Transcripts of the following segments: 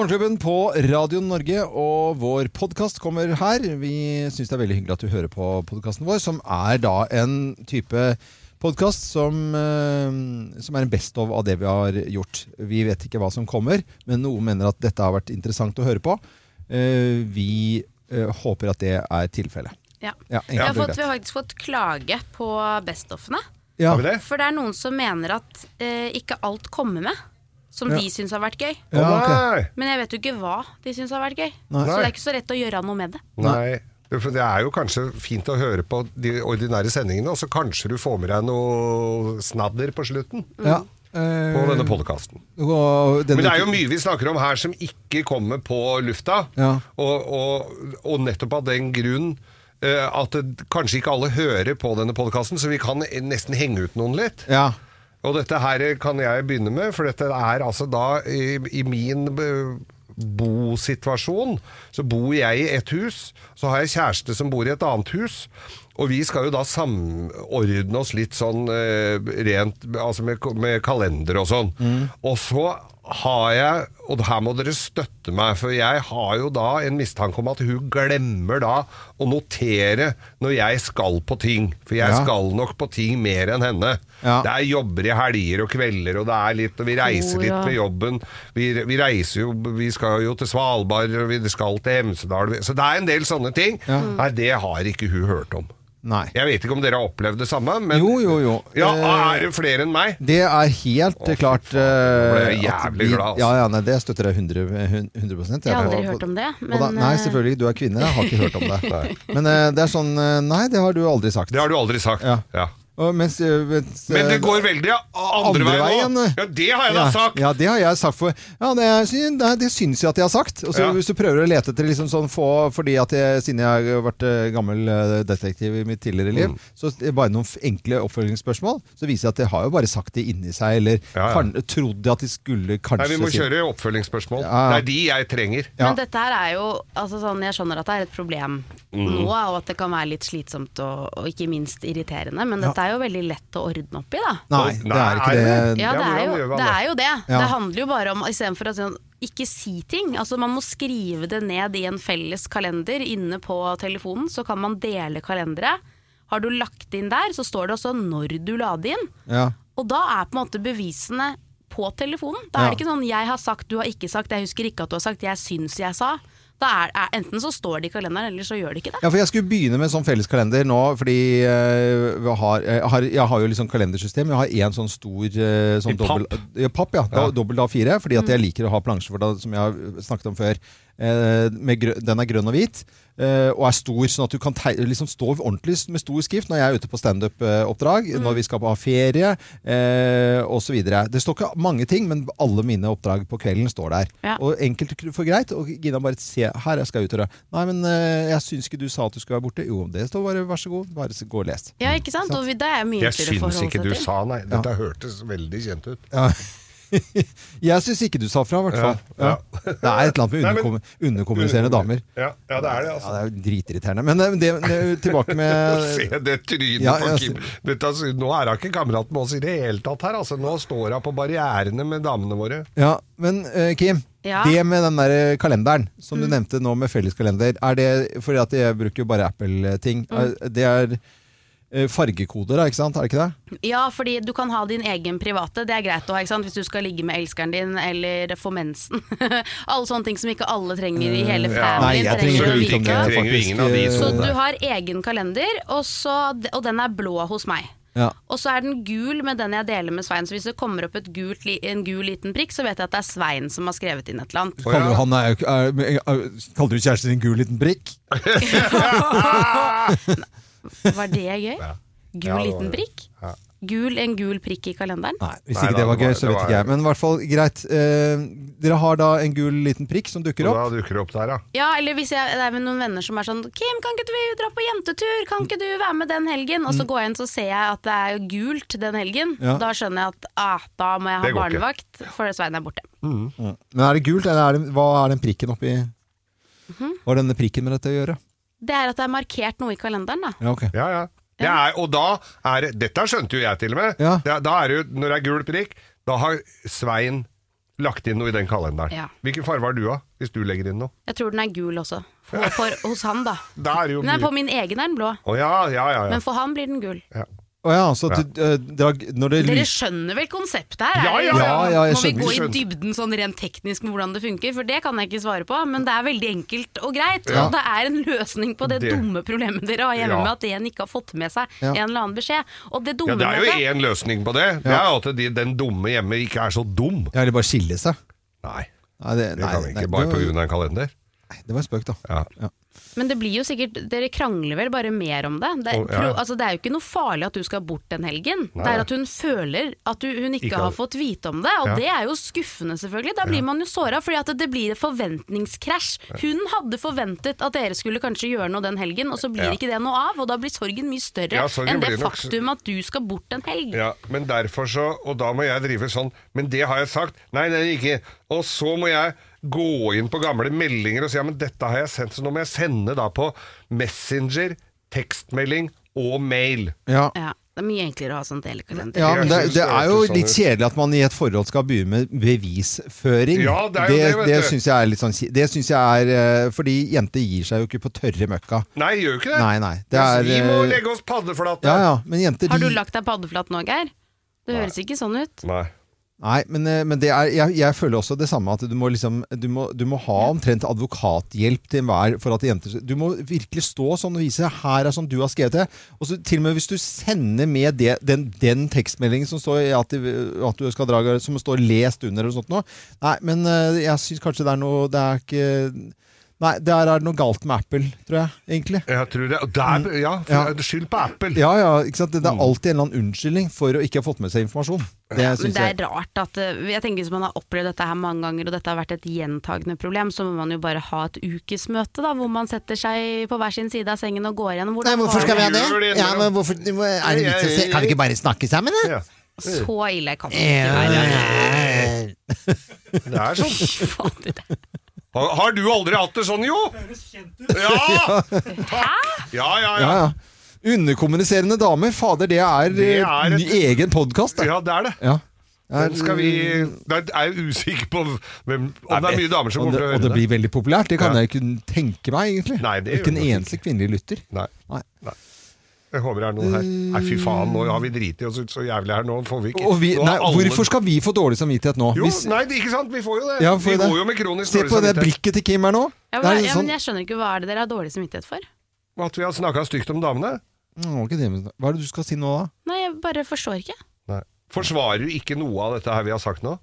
Morgenklubben på Radio Norge, og vår podkast kommer her. Vi syns det er veldig hyggelig at du hører på podkasten vår, som er da en type podkast som, eh, som er en best of av det vi har gjort. Vi vet ikke hva som kommer, men noen mener at dette har vært interessant å høre på. Eh, vi eh, håper at det er tilfellet. Ja. Ja, Vi har, enkelt og fått, vi greit. har faktisk fått klage på bestoffene. Ja, Har vi det? For det er noen som mener at eh, ikke alt kommer med som de syns har vært gøy. Ja, Å, ok. Men jeg vet jo ikke hva de syns har vært gøy. Nei. Så det er ikke så lett å gjøre noe med det. nei, nei. For det er jo kanskje fint å høre på de ordinære sendingene, og så kanskje du får med deg noe snadder på slutten ja. Mm. på Eh, denne podkasten. og denne Men det er jo uken- mye vi snakker om her som ikke kommer på lufta, Ja. og, og, og nettopp av den grunn eh, at det, kanskje ikke alle hører på denne podkasten, så vi kan nesten henge ut noen litt. ja. Og dette her kan jeg begynne med, for dette er altså da i, i min eh, bosituasjon. Så bor jeg i et hus, så har jeg kjæreste som bor i et annet hus. Og vi skal jo da samordne oss litt sånn eh, rent altså med, med kalender og sånn. Og så har jeg, og her må dere støtte meg, for jeg har jo da en mistanke om at hun glemmer da å notere når jeg skal på ting. For jeg Ja. skal nok på ting mer enn henne. Ja. Det er jobber i helger og kvelder, og det er litt, og vi reiser Oh, litt ja. med jobben. Vi, vi reiser jo, vi skal jo til Svalbard, og vi skal til Hemsedal. Så det er en del sånne ting. Nei, det har ikke hun hørt om. Nei. Jeg vet ikke om dere har opplevd det samme, men Jo, jo, jo. Ja, Eh, er det flere enn meg? Det er helt eh, klart ble eh, jeg at jævlig vi- glad, altså. Ja, ja, nei, det støtter jeg 100, hun- 100 Jeg har på- aldri på- hørt om det, på men, da- Nei, eh, selvfølgelig. Du er kvinne, jeg har ikke hørt om det. men eh, det er sånn eh, Nei, det har du aldri sagt. Det har du aldri sagt. Ja. Ja. Og mens, eh, mens, Men det eh, går veldig a- andre, Andre veien nå. veien, eh. Ja, det har jeg da ja, sagt. ja, det har jeg sagt for Ja, det, er- sy- nei, det syns jeg at jeg har sagt. Og så Ja. Hvis du prøver å lete etter liksom sånn få Fordi at jeg, siden jeg har vært eh, gammel eh, detektiv i mitt tidligere liv, Mm. så s- bare noen f- enkle oppfølgingsspørsmål, så viser jeg at jeg har jo bare sagt det inni seg, eller Ja, ja. kan, trodde at de skulle kanskje Nei, vi må si- kjøre oppfølgingsspørsmål. Ja, ja. Det er de jeg trenger. Ja. Men dette her er jo altså sånn, Jeg skjønner at det er et problem nå, og at det kan være litt slitsomt og, og ikke minst irriterende, men dette er jo veldig lett å ordne opp i, da. Nei, det er ikke det. Ja, Ja, det er hvordan jo gjør man det. det? Er jo det. Ja. det handler jo bare om istedenfor å sånn, ikke si ting. Altså Man må skrive det ned i en felles kalender inne på telefonen. Så kan man dele kalendere. Har du lagt det inn der, så står det også når du la det inn. Ja. Og da er på en måte bevisene på telefonen. Da er det Ja. ikke sånn 'jeg har sagt, du har ikke sagt', 'jeg husker ikke at du har sagt', 'jeg syns jeg sa'. Da er, er, enten så står det i kalenderen, eller så gjør det ikke det. Ja, for Jeg skulle begynne med en sånn felleskalender nå, fordi eh, vi har, jeg, har, jeg har jo liksom kalendersystem. Jeg har én sånn stor eh, sånn I papp? dobbel- ja, papp, ja. Da, Dobbelt A4. Fordi at jeg liker å ha plansjer, for da, som jeg har snakket om før. eh, med grø den er grønn og hvit, eh, og er stor, sånn at du kan tei liksom stå ordentlig s- med stor skrift når jeg er ute på standup-oppdrag, når vi skal på- ha ferie eh, osv. Det står ikke mange ting, men alle mine oppdrag på kvelden står der. Ja. Og enkelte for greit, og Gina bare se, her jeg skal ut og rø. Nei, men eh, jeg syns ikke du sa at du skulle være borte. Jo, det står bare, vær så god, bare s- gå og les. Ja, ikke sant? Og vi- det er mye Jeg enklere å syns forholde seg ikke du til. sa nei. Dette hørtes veldig kjent ut. Jeg syns ikke du sa fra, i hvert fall. Ja, Ja. Det er et eller annet med Nei, men- underkommu- underkommuniserende damer. Ja, ja det er det, Ja, altså. det er jo dritirriterende. Men eh, det, det, tilbake med Se det trynet Eh, Ja, på jeg Kim. ser- Dette, altså, nå er hun ikke kamerat med oss i det hele tatt her. Altså, nå står hun på barrierene med damene våre. Ja, men eh, Kim. Ja. Det med den der eh, kalenderen som du nevnte nå med felleskalender, er det fordi at jeg bruker jo bare Apple-ting. Er- Det er eh, fargekoder, da, ikke sant? Er det ikke det? Ja, fordi du kan ha din egen private, det er greit å ha ikke sant? hvis du skal ligge med elskeren din eller få mensen. alle sånne ting som ikke alle trenger i hele Eh, Ja. Nei, familien. jeg trenger trenger ikke å vi vite om vite. det. trenger jo faktisk. ingen av de Eh, Så sånne. du har egen kalender, og, så, og den er blå hos meg. Ja. Og så er den gul med den jeg deler med Svein, så hvis det kommer opp et gult, li- en gul liten prikk, så vet jeg at det er Svein som har skrevet inn et eller annet. Å, ja. Kaller du, han er, jo ikke- er, er, kaller du kjæresten din gul liten prikk? Var det gøy? Ja, Gul det var liten det. prikk? Gul, en gul prikk i kalenderen? Nei, hvis Nei, ikke da, det var det var- gøy, så det vet var- ikke jeg. Men i hvert fall, greit. Eh, dere har da en gul liten prikk som dukker Og opp. da dukker det opp der, ja. Ja, eller hvis jeg det er med noen venner som er sånn Kim, kan ikke du vi dra på jentetur? Kan ikke du være med den helgen? Og så Mm. går jeg inn så ser jeg at det er gult den helgen. Ja. Da skjønner jeg at ah, da må jeg ha Det går ikke. barnevakt, for Svein er borte. Mm. Men er det gult, eller er det, hva er den prikken oppi Mhm. Hva har denne prikken med dette å gjøre? Det er at det er markert noe i kalenderen, da. Ja, ok. Ja, ja. Det er, og da er det- Dette skjønte jo jeg til og med. Ja. Da, da er det jo, når det er gul prikk, da har Svein lagt inn noe i den kalenderen. Ja. Hvilken farge har du av, hvis du legger inn noe? Jeg tror den er gul også. For, for, hos han, da. Da er det jo Den er mye- på min egen er den blå, Å ja, ja, ja. ja. men for han blir den gul. ja. Å ja, så at du, eh, drag, når det Dere lyser skjønner vel konseptet her? Ja, Er det ja, liksom- ja, ja, jeg Må vi skjønner, gå i skjønner. dybden sånn rent teknisk med hvordan det funker? For det kan jeg ikke svare på, men det er veldig enkelt og greit. Ja. Og det er en løsning på det, Det- dumme problemet dere har hjemme Ja. med at en ikke har fått med seg Ja. en eller annen beskjed. Og det Ja, dumme det er med jo én løsning på det. Det er jo at de, den dumme hjemme ikke er så dum. Ja, eller bare skille seg. Nei, Nei, det, det nei, kan vi nei, ikke bare det var- pga. en kalender. nei, Det var en spøk, da. Ja. Men det blir jo sikkert, dere krangler vel bare mer om det? Det er, Å, ja. pro, altså, det er jo ikke noe farlig at du skal bort den helgen. Nei. Det er at hun føler at du, hun ikke, Ikke har har- fått vite om det, og Ja. det er jo skuffende selvfølgelig. Da blir man jo såra, fordi at det blir et forventningskrasj. Hun hadde forventet at dere skulle kanskje gjøre noe den helgen, og så blir Ja. ikke det noe av, og da blir sorgen mye større Ja, sorgen enn det blir nok- faktum at du skal bort en helg. Ja, men derfor så Og da må jeg drive sånn. Men det har jeg sagt. Nei, nei, ikke. Og så må jeg gå inn på gamle meldinger og si ja, men dette har jeg sendt, så nå må jeg sende da på Messenger, tekstmelding og mail. Ja. Ja, det er mye enklere å ha sånn delekalender. Ja, men det, Jeg synes det det er jo hørtes sånn litt ut. kjedelig at man i et forhold skal begynne med bevisføring. Ja, det er jo det, det, vet du. syns jeg er litt sånn ki- Det syns jeg er eh, Fordi jenter gir seg jo ikke på tørre møkka. Nei, gjør jo ikke det. Nei, nei. Det er Vi må eh, legge oss paddeflate. Ja, ja. Men jenter Har du de- lagt deg paddeflat nå, Geir? Det høres ikke sånn ut. Nei. Nei, men, eh, men det er, jeg, jeg føler også det samme at du må, liksom, du må, du må ha omtrent advokathjelp til enhver for at jenter Du må virkelig stå sånn og vise 'her er sånn du har skrevet det'. Og så til og med hvis du sender med det, den, den tekstmeldingen som står i at, du- at du skal dra, som står lest under eller sånt noe Nei, men eh, jeg syns kanskje det er noe Det er ikke Nei, der er det noe galt med Apple, tror jeg, egentlig. Jeg tror det. og Der, ja, Mm. Ja. for- skyld på Apple. Ja, ja, ikke sant? Det er alltid en eller annen unnskyldning for å ikke ha fått med seg informasjon. Det Men syns det jeg. er rart at eh, Jeg tenker Hvis man har opplevd dette her mange ganger, og dette har vært et gjentagende problem, så må man jo bare ha et ukesmøte da, hvor man setter seg på hver sin side av sengen og går igjen. Hvor det var vi ha det? Gjør det, Ja, men hvorfor, er det vits å se- kan vi ikke bare snakke sammen, da? Ja. Så ille kan det ikke være. Det er sånn. Fy fader, det er- Har, har du aldri hatt det sånn, jo? Ja! Takk. Ja, ja, ja. Ja, ja. Underkommuniserende damer, fader, det er, Det er eh, et- ny egen podkast. Ja, det er det. Ja. Er- Den skal vi Jeg er jeg usikker på hvem Om det er mye damer som og kommer det, til å og det høre det. blir veldig populært, det kan Ja. jeg ikke tenke meg, egentlig. Nei, det gjør ikke en det nok eneste kvinnelig lytter. Nei. Nei. Jeg håper det er noen her. Nei, fy faen, nå har vi driti oss ut så jævlig her. Nå får vi ikke Og vi, nå har nei, alle- hvorfor skal vi få dårlig samvittighet nå? Jo, Hvis- nei, det- ikke sant? Vi får jo det. Ja, for vi det- går jo med kronisk Se dårlig på det samvittighet. blikket til Kim her nå. Ja, Det men, er ja, sånn, men jeg skjønner ikke hva er det dere har dårlig samvittighet for? At vi har snakka stygt om damene. Nå, ikke det, men- Hva er det du skal si nå, da? Nei, jeg bare forstår ikke. Nei. Forsvarer du ikke noe av dette her vi har sagt nå?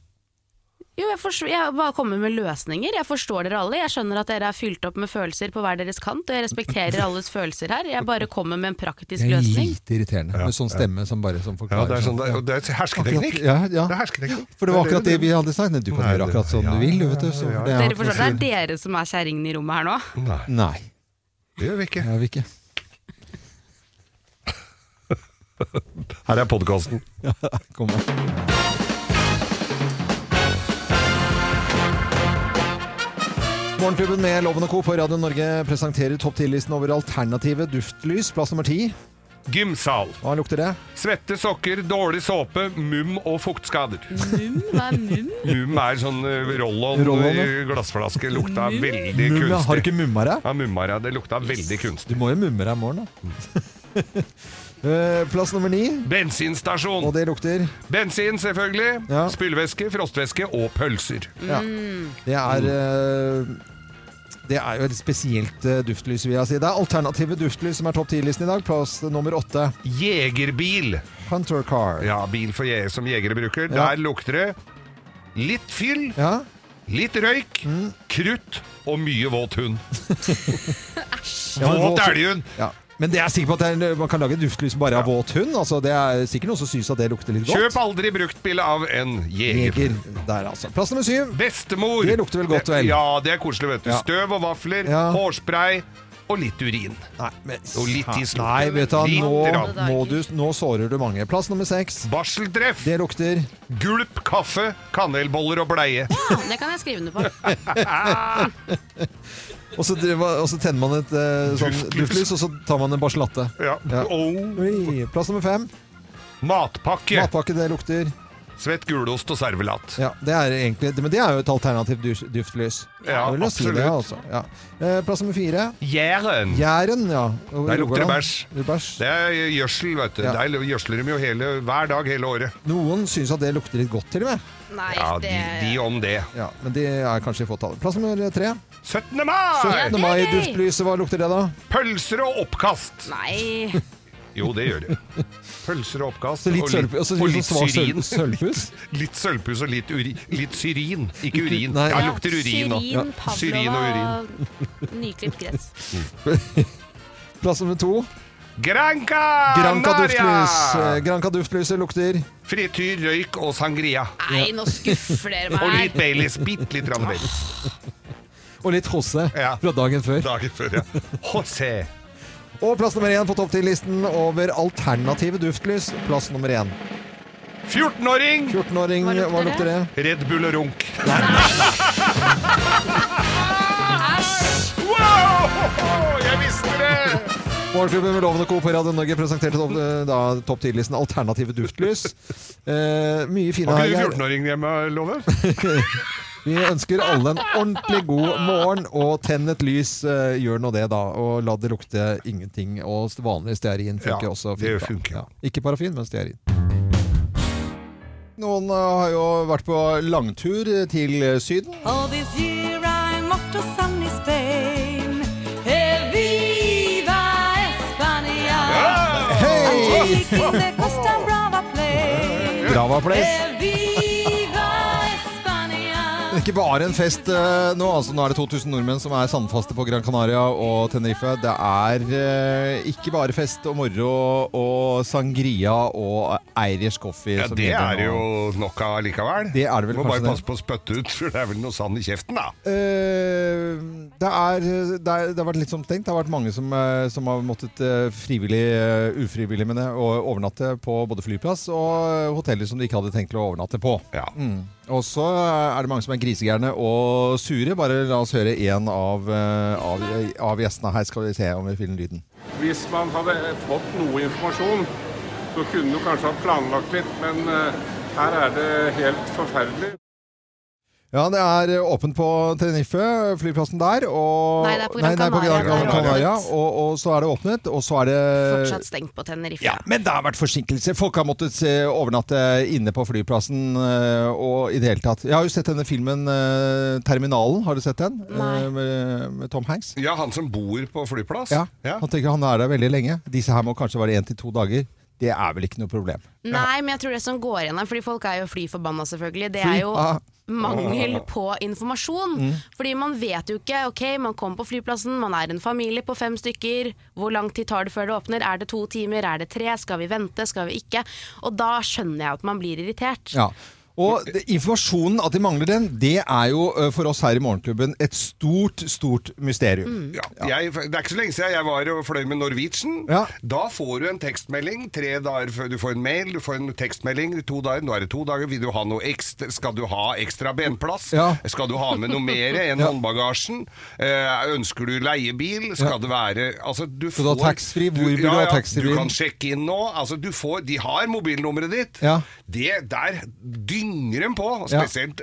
Jo, jeg, forstår, jeg bare kommer med løsninger. Jeg forstår dere alle. Jeg skjønner at dere er fylt opp med følelser på hver deres kant, og jeg respekterer alles følelser her. Jeg bare kommer med en praktisk Det er løsning. lite irriterende med sånn stemme som bare sånn Ja, forklarer. det er, sånn. sånn, det er, det er hersketeknikk. Ja, ja. Det er hersketeknikk. For det var akkurat det vi hadde sagt. Nei, du kan Nei, gjøre det- akkurat som ja, du vil, du vet du. Så ja, ja. det er sånn. Dere forstår, det er dere som er kjerringen i rommet her nå. Nei, Nei, det gjør vi ikke. det er vi ikke. Her er podkasten. Kom med. Morgenklubben med Loven og Co. på Radio Norge presenterer topp 10-listen over alternative duftlys. Plass nummer ti. Gymsal. Hva lukter det? Svette sokker, dårlig såpe, mum og fuktskader. Mum? Hva er mum? Mum er sånn eh, roll-on Roll-on, ja. i glassflaske. Lukta veldig Mum, ja. Har du kunstig. ikke mumma deg? Ja, mumma, ja. Det lukta veldig kunstig. Du må jo mumme deg i morgen, da. Mm. Eh, Plass nummer ni. Bensinstasjon. Og det lukter Bensin, selvfølgelig. Ja. Spylevæske, frostvæske og pølser. Ja. Det er eh, Det er jo et spesielt eh, duftlys, vil jeg si. Det er alternative duftlys som er topp 10-listen i dag. Plass nummer åtte. Jegerbil. Hunter Car. Ja, bil for je som jegere bruker. Ja. Der lukter det litt fyll, Ja. litt røyk, Mm. krutt og mye våt hund. Ja, men Våt våt- elghund! Ja. Men det er sikker på at det er, en- man kan lage duftlys bare av våt hund. Altså, det er sikkert noen som syns at det lukter litt godt. Kjøp aldri bruktbil av en jeger. Jeger der, altså. Plass nummer syv. Bestemor. Det lukter vel godt, vel? Ja, det er koselig, vet du. Ja. Støv og vafler, Ja. hårspray og litt urin. Nei, men, Og litt tiss. Nei, vet du, hva, Litt nå, rann. må du, nå sårer du mange. Plass nummer seks. Barseltreff, Det lukter gulp, kaffe, kanelboller og bleie. Ja, det kan jeg skrive under på. Og så, driver- og så tenner man et eh, sånn Duftlys. duftlys, og så tar man en barselatte. Ja. Ja. Og Oi, Plass nummer fem. matpakke. Matpakke, det lukter Svett gulost og servelat. Ja, det er egentlig, men det er jo et alternativt dus- duftlys. Ja, Jeg vil jo si det, absolutt. altså. ja. Eh, Plass nummer fire. Jæren! Jæren, ja. Der lukter det Rogaland. bæsj. Det bæsj. Det er gjødsel, vet du. Ja. Der gjødsler de jo hele, hver dag hele året. Noen syns at det lukter litt godt, til og med. Nei, Ja, det de, de om det. Ja, men det er kanskje i fåtall. Plass nummer tre. 17. mai! 17. det er mai, gøy! duftlyset, hva lukter det da? Pølser og oppkast! Nei. Jo, det gjør det. Pølser og oppkast Så litt og litt, sølv- og så og litt litt sånn svak sølv- syrin. sølvpus. Litt sølvpus og litt, uri, litt syrin. Ikke urin. nei. Ja, Ja, lukter urin nå. Ja. Syrin, Pavlova, Syrin og Nyklipt gress. Plass nummer to. Granca! Granca duftlys. Eh, Naria! Granca duftlyset lukter Frityr, røyk og sangria. Nei, nå skuffer dere Og litt meg. Baileys. Bitte litt grann Baileys. Og litt hosse Ja. fra dagen før. Dagen før, ja. José. Og plass nummer én på topp 10-listen over alternative duftlys. Plass nummer én. 14-åring! 14-åring, Hva lukter hva lukter det? Red Bull og runk. Æsj! Wow! Jeg visste det! Morgenklubben med Lovende Co. på Radio Norge presenterte topp, eh, da, topp 10-listen alternative duftlys. Eh, mye fine Har her. ikke du Geir. 14-åring hjemme, Love? Vi ønsker alle en ordentlig god morgen, og tenn et lys. eh, gjør nå det, da. Og la det lukte ingenting. Og vanlig stearin funker Ja, også. det da. funker. Ja. Ikke parafin, men stearin. Noen eh, har jo vært på langtur til eh, Syden. All this year I'm off to sunny Spain. Hey, viva España! I'm Hey! taking the Costa Brava plane. Brava Place. Hey, viva España! Ikke bare en fest eh, nå. altså Nå er det 2000 nordmenn som er sandfaste på Gran Canaria og Tenerife. Det er eh, ikke bare fest og moro og sangria og Eirish coffee. Ja, som det gjelder er nå. jo nok av likevel. Det er det vel Må bare kanskje passe på å spytte ut, for det er vel noe sand i kjeften, da. Eh, det, er, det, er, det har vært litt som tenkt. Det har vært mange som, eh, som har måttet eh, frivillig, eh, ufrivillig med det, og overnatte på både flyplass og hoteller som de ikke hadde tenkt til å overnatte på. Ja. Mm. Og så eh, er det mange som er grisegærne og sure. Bare la oss høre én av, eh, av, av gjestene her, skal vi se om vi finner lyden. Hvis man hadde fått noe informasjon, så kunne du kanskje ha planlagt litt, men eh, her er det helt forferdelig. Ja, det er åpent på Tenerife, flyplassen der. Og, Nei, det er på Gran nei, nei, på Gran Canaria. Canaria. Det er åpent. Og, og så er det åpnet, og så er det Fortsatt stengt på Tenerife. Ja, men det har vært forsinkelser. Folk har måttet eh, overnatte inne på flyplassen. eh, Og i det hele tatt Jeg har jo sett denne filmen eh, 'Terminalen'. Har du sett den? Nei. Eh, Med, med Tom Hanks. Ja, han som bor på flyplass. Ja. Han tenker han er der veldig lenge. Disse her må kanskje være én til to dager. Det er vel ikke noe problem. Nei, men jeg tror det som går igjen her, fordi folk er jo fly forbanna selvfølgelig, det Fly? er jo Ah. Mm. mangel på informasjon. Fordi man vet jo ikke, ok, man kom på flyplassen, man er en familie på fem stykker, hvor lang tid tar det før det åpner, er det to timer, er det tre, skal vi vente, skal vi ikke? Og da skjønner jeg at man blir irritert. Ja. Og det, informasjonen at de mangler den, det er jo eh, for oss her i Morgenklubben et stort, stort mysterium. Ja. Jeg, det er ikke så lenge siden jeg var og fløy med Norwegian. Ja. Da får du en tekstmelding tre dager før du får en mail. Du får en tekstmelding to dager. Nå er det to dager. Vil du ha noe ekstra? Skal du ha ekstra benplass? Ja. Skal du ha med noe mer enn Ja. håndbagasjen? Eh, ønsker du leiebil? Skal det være Altså, du Skal du ha taxfree? Hvor vil du ha taxfree? Du kan sjekke inn nå. Altså, du får De har mobilnummeret ditt. Ja. Det der dynger dem på. Ja. Spesielt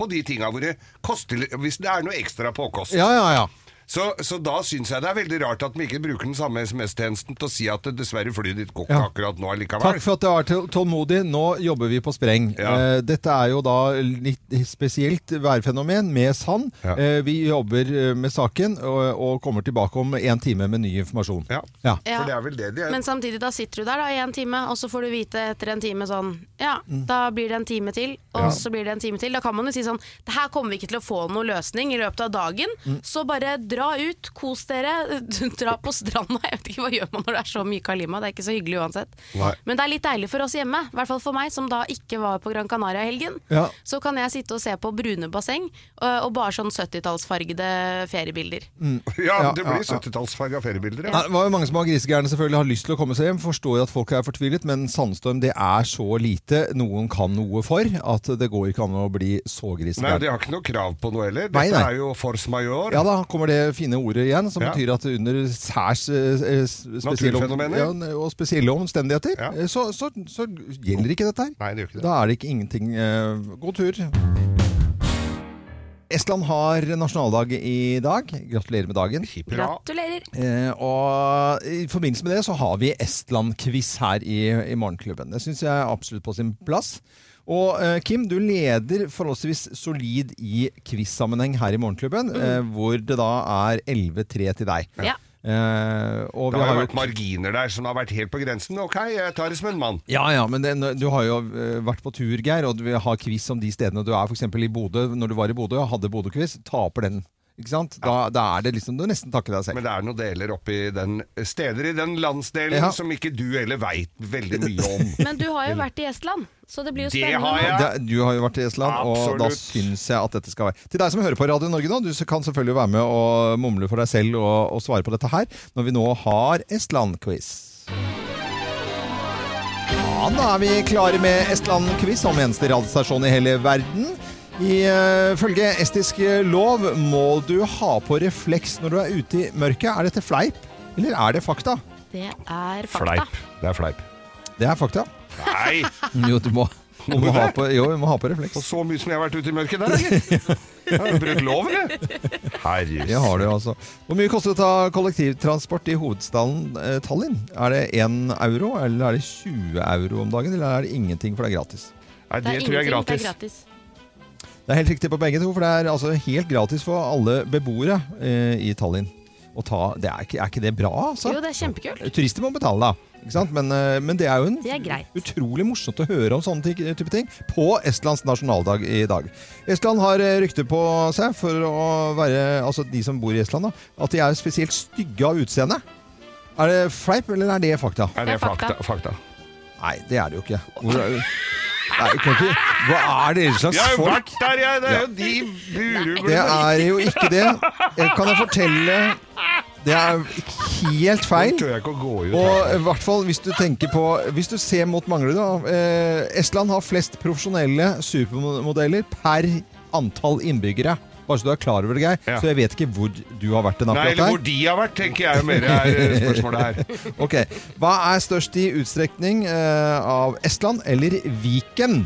på de tinga hvor det koster Hvis det er noe ekstra påkost. Ja, ja, ja. Så, så da syns jeg det er veldig rart at vi ikke bruker den samme SMS-tjenesten til å si at dessverre flyet ditt går ikke Ja. akkurat nå likevel. Takk for at du er tål- tålmodig. Nå jobber vi på spreng. Ja. Eh, dette er jo da litt spesielt værfenomen med sand. Ja. Eh, vi jobber eh, med saken og, og kommer tilbake om en time med ny informasjon. Ja. Ja. Ja. For det er vel det de er. Men samtidig, da sitter du der da i en time, og så får du vite etter en time sånn Ja, da blir det en time til, og så blir det en time til. Da kan man jo si sånn Det her kommer vi ikke til å få noen løsning i løpet av dagen, så bare dra ut, kos dere, dra på stranda. Jeg vet ikke hva gjør man når det er så mye kalima, det er ikke så hyggelig uansett. Nei. Men det er litt deilig for oss hjemme, i hvert fall for meg som da ikke var på Gran Canaria i helgen. Ja. Så kan jeg sitte og se på brune basseng øh, og bare sånn 70-tallsfargede feriebilder. ja, Ja, det ja, blir ja. 70-tallsfarga feriebilder. Nei, Ja. Det var jo mange som var grisegærne selvfølgelig har lyst til å komme seg hjem. Forstår at folk er fortvilet, men sandstorm det er så lite noen kan noe for, at det går ikke an å bli så Nei, grisegæren. de har ikke noe krav på noe heller. Nei, Dette nei. er jo force majeure. Ja da, kommer det fine ordet igjen, som Ja. betyr at under særs eh, eh, spesielle, Naturfenomener. ja, og spesielle omstendigheter, Ja. eh, så, så, så gjelder ikke dette her. Nei, det gjør ikke det. Da er det ikke ingenting. eh, God tur. Estland har nasjonaldag i dag. Gratulerer med dagen. Bra. Gratulerer. Eh, og I forbindelse med det så har vi Estland-quiz her i, i Morgenklubben. Det syns jeg er absolutt på sin plass. Og eh, Kim, du leder forholdsvis solid i quiz-sammenheng her i Morgenklubben, eh, hvor det da er 11-3 til deg. Ja. Eh, og Det vi har jo har jo vært marginer der som har vært helt på grensen. Ok, jeg tar det som en mann. ja, ja, men det, du har jo eh, vært på tur, Geir, og du har quiz om de stedene du er. F.eks. i Bodø. Når du var i Bodø og hadde Bodø-quiz, taper den. Ikke sant? Da, da er det liksom Du nesten takker deg selv. Men det er noen deler oppi den steder i den landsdelen Ja. som ikke du heller veit veldig mye om. Men du har jo vært i Estland, så det blir jo Det spennende. har jeg. nå. det, du har jo vært i Estland, og da Absolutt. syns jeg at dette skal være Til deg som hører på Radio Norge nå, du kan selvfølgelig være med og mumle for deg selv og, og svare på dette her, når vi nå har Estland-quiz. Ja, da er vi klare med Estland-quiz om eneste radiostasjon i hele verden. Ifølge estisk lov må du ha på refleks når du er ute i mørket. Er dette fleip, eller er det fakta? Det er fakta. Fleip. Det er fleip. Det er fakta. Nei! Jo, du må, du må, ha, på, jo, du må ha på refleks. Og så mye som jeg har vært ute i mørket der, eller? Har du brutt lov, eller? Herregud. Det har du, altså. Hvor mye kostet da kollektivtransport i hovedstaden eh, Tallinn? Er det 1 euro, eller er det 20 euro om dagen, eller er det ingenting, for det er gratis? Nei, Det det er tror jeg er ingenting, det er gratis. gratis. Det er helt riktig på begge to, for det er altså helt gratis for alle beboere eh, i Tallinn. Å ta, det er, ikke, er ikke det bra, altså? Jo, det er kjempekult. Turister må betale, da. Ikke sant? Men, eh, men det er jo en Det er greit. utrolig morsomt å høre om sånne ting, type ting på Estlands nasjonaldag i dag. Estland har eh, rykte på seg for å være, altså de som bor i Estland, da, at de er spesielt stygge av utseende. Er det fleip, eller er det fakta? Nei, det er fakta. fakta. Nei, det er det jo ikke. Hvor er Nei, jeg kan ikke. Hva er det slags Jeg har jo folk? vært der, jeg! Det er jo de Det buruglene. er jo ikke det. Jeg kan jeg fortelle Det er helt Nå feil. tør jeg ikke å gå ut. Og altså. eh, i herfra. hvert fall hvis du tenker på Hvis du ser mot Manglerud, da. Eh, Estland har flest profesjonelle supermodeller per antall innbyggere. Bare så du er klar over det, Geir. Ja. Så jeg vet ikke hvor du har vært den Nei, akkurat eller hvor der. de har vært, tenker jeg jo mer er eh, spørsmålet her. Ok, Hva er størst i utstrekning eh, av Estland eller Viken?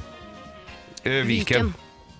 Eh, Viken.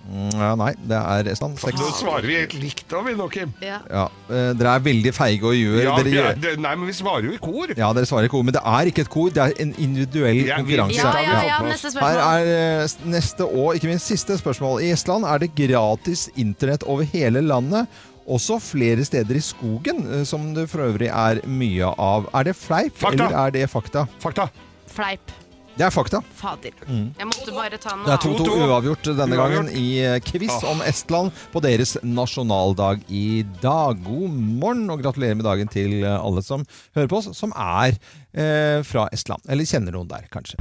Mm, ja, nei, det er Estland. Seks. Ah. Nå svarer vi helt likt da, vi nå, Kim. Ja. Ja, eh, dere er veldig feige og ljuer. Ja, dere vi er- gjør- det- nei, men vi svarer jo i kor. Ja, dere svarer ikke ord, men det er ikke et kor, det er en individuell Ja, vi- konkurranse. Ja, ja, ja, Ja. neste Her spørsmål. er eh, s- neste og ikke minst siste spørsmål. I Estland er det gratis internett over hele landet, også flere steder i skogen, eh, som det for øvrig er mye av. Er det fleip, Fakta. eller er det fakta? Fakta. Fleip. Det er fakta. Fader. Mm. Jeg måtte bare ta Det noe er 2-2 To-to. uavgjort denne gangen Uavgjort. i eh, quiz om Estland på deres nasjonaldag i dag. God morgen og gratulerer med dagen til eh, alle som hører på oss, som er eh, fra Estland. Eller kjenner noen der, kanskje.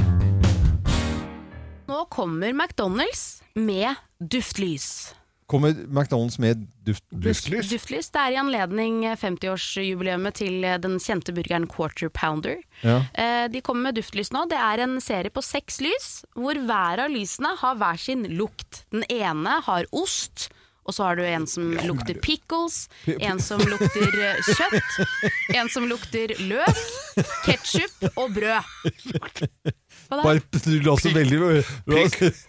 Nå kommer McDonald's med duftlys. Kommer McDonald's med duft... Duftlys. Duftlys det er i anledning 50-årsjubileet til den kjente burgeren Quarter Pounder. Ja. Eh, De kommer med duftlys nå. Det er en serie på seks lys, hvor hver av lysene har hver sin lukt. Den ene har ost, og så har du en som lukter pickles, en som lukter eh, kjøtt, en som lukter løk, ketsjup og brød. Hva da? Bare, du la så veldig Pickles.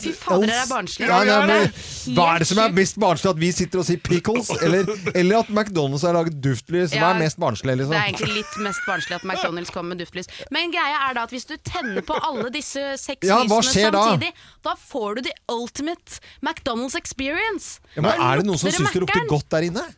Fy fader, dere er barnslige. Ja, nei, men, Helt hva er det som er sjukt. mest barnslig? At vi sitter og sier pickles? Eller, eller at McDonald's har laget duftlys, som Ja, er mest barnslig? Det er Liksom. egentlig litt mest barnslig at McDonald's kommer med duftlys. Men greia er da at hvis du tenner på alle disse seks Ja, hva lysene skjer da? samtidig, da får du the ultimate McDonald's experience. Ja, men Da er det noen som lukter syns det lukter Mac'eren. godt der inne?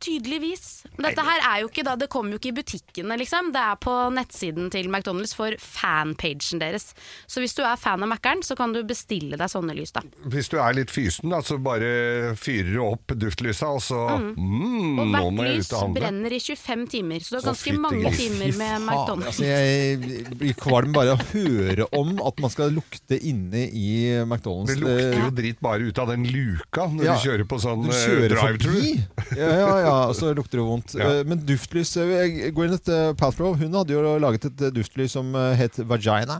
Tydeligvis. Men dette her er jo ikke da, det kommer jo ikke i butikkene, liksom. Det er på nettsiden til McDonald's for fanpagen deres. Så hvis du er fan av Mækkern, så kan du bestille deg sånne lys, da. Hvis du er litt fysen, da, så bare fyrer du opp duftlysa, og så mm, Og Nå hvert må jeg lys ut og handle. brenner i 25 timer, så du har Så ganske fytti mange gris. timer med Faen, McDonald's. altså, jeg blir kvalm bare av å høre om at man skal lukte inne i McDonald's. Det lukter Eh, jo dritt bare ut av den luka når Ja. du kjører på sånn Du eh, kjører drive-thru. forbi, ja, ja, ja, og så lukter det vondt. Ja. Eh, Men duftlys eh, Gwyneth eh, Paltrow hun hadde jo laget et eh, duftlys som eh, het Vagina.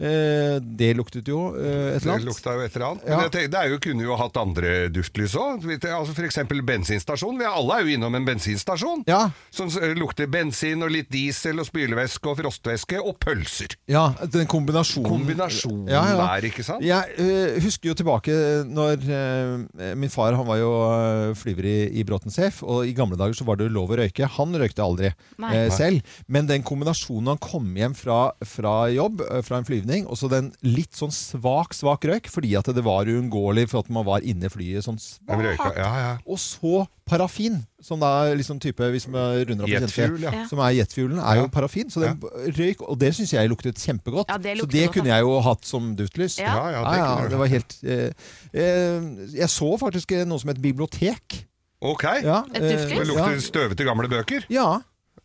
Eh, det luktet jo eh, et eller Det annet. lukta jo et eller annet. Ja. Men jeg tenkte, det er jo, kunne jo hatt andre duftlys òg. Altså F.eks. bensinstasjon. Vi er- alle er jo innom en bensinstasjon. Ja. Som s- eh, lukter bensin og litt diesel og spylevæske og frostvæske og pølser. Ja, den kombinasjonen. Kombinasjonen der, ikke sant? Jeg øh, husker jo tilbake når øh, min far han var jo øh, flyver i, i Bråten Safe, og i gamle dager så var det jo lov å røyke. Han røykte aldri Nei. eh, selv. Men den kombinasjonen når han kom hjem fra, fra jobb, øh, fra en flyvning, og så den litt sånn svak, svak røyk, fordi at det var uunngåelig for at man var inne i flyet sånn De svakt. røyka. Ja, ja. Og så paraffin, som da er liksom type hvis man runder opp i Jetfuel, kjente, ja. Som er jetfuelen, er Ja. jo paraffin. Så den røyk, og det syns jeg luktet kjempegodt. Ja, det så lukter det godt, kunne ja. jeg jo hatt som duftlys. Ja. Ja, ja, det det, kunne du det var helt eh, eh, Jeg så faktisk eh, noe som et bibliotek. Ok. Ja, Et eh, duftlys? Det ja. lukter støvete gamle bøker. ja.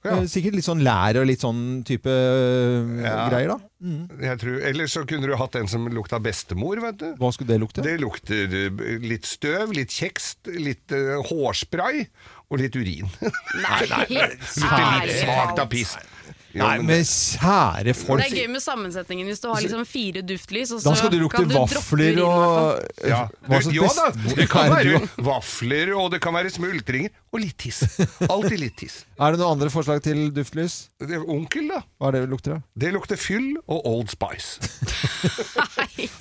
Ja. Eh, Sikkert litt sånn lær og litt sånn type eh, Ja. greier, da. Jeg tror, ellers så kunne du hatt en som lukta bestemor, vet du. Hva skulle det lukte? Det lukter eh, litt støv, litt kjekst, litt eh, hårspray og litt urin. Nei, Lukter litt ærlig svakt av talt. piss. Jo, Nei, men kjære Det folk! er gøy med sammensetningen hvis du har liksom fire duftlys, og så Da skal det lukte kan du droppe vafler urin, i hvert fall. og ja. Hva slags ja da, bestemor det kan er du? være vafler, og det kan være smultringer, og litt tiss. Alltid litt tiss. Er det noen andre forslag til duftlys? Det er Onkel, da. Hva er det lukter av? Det lukter fyll og Old Spice.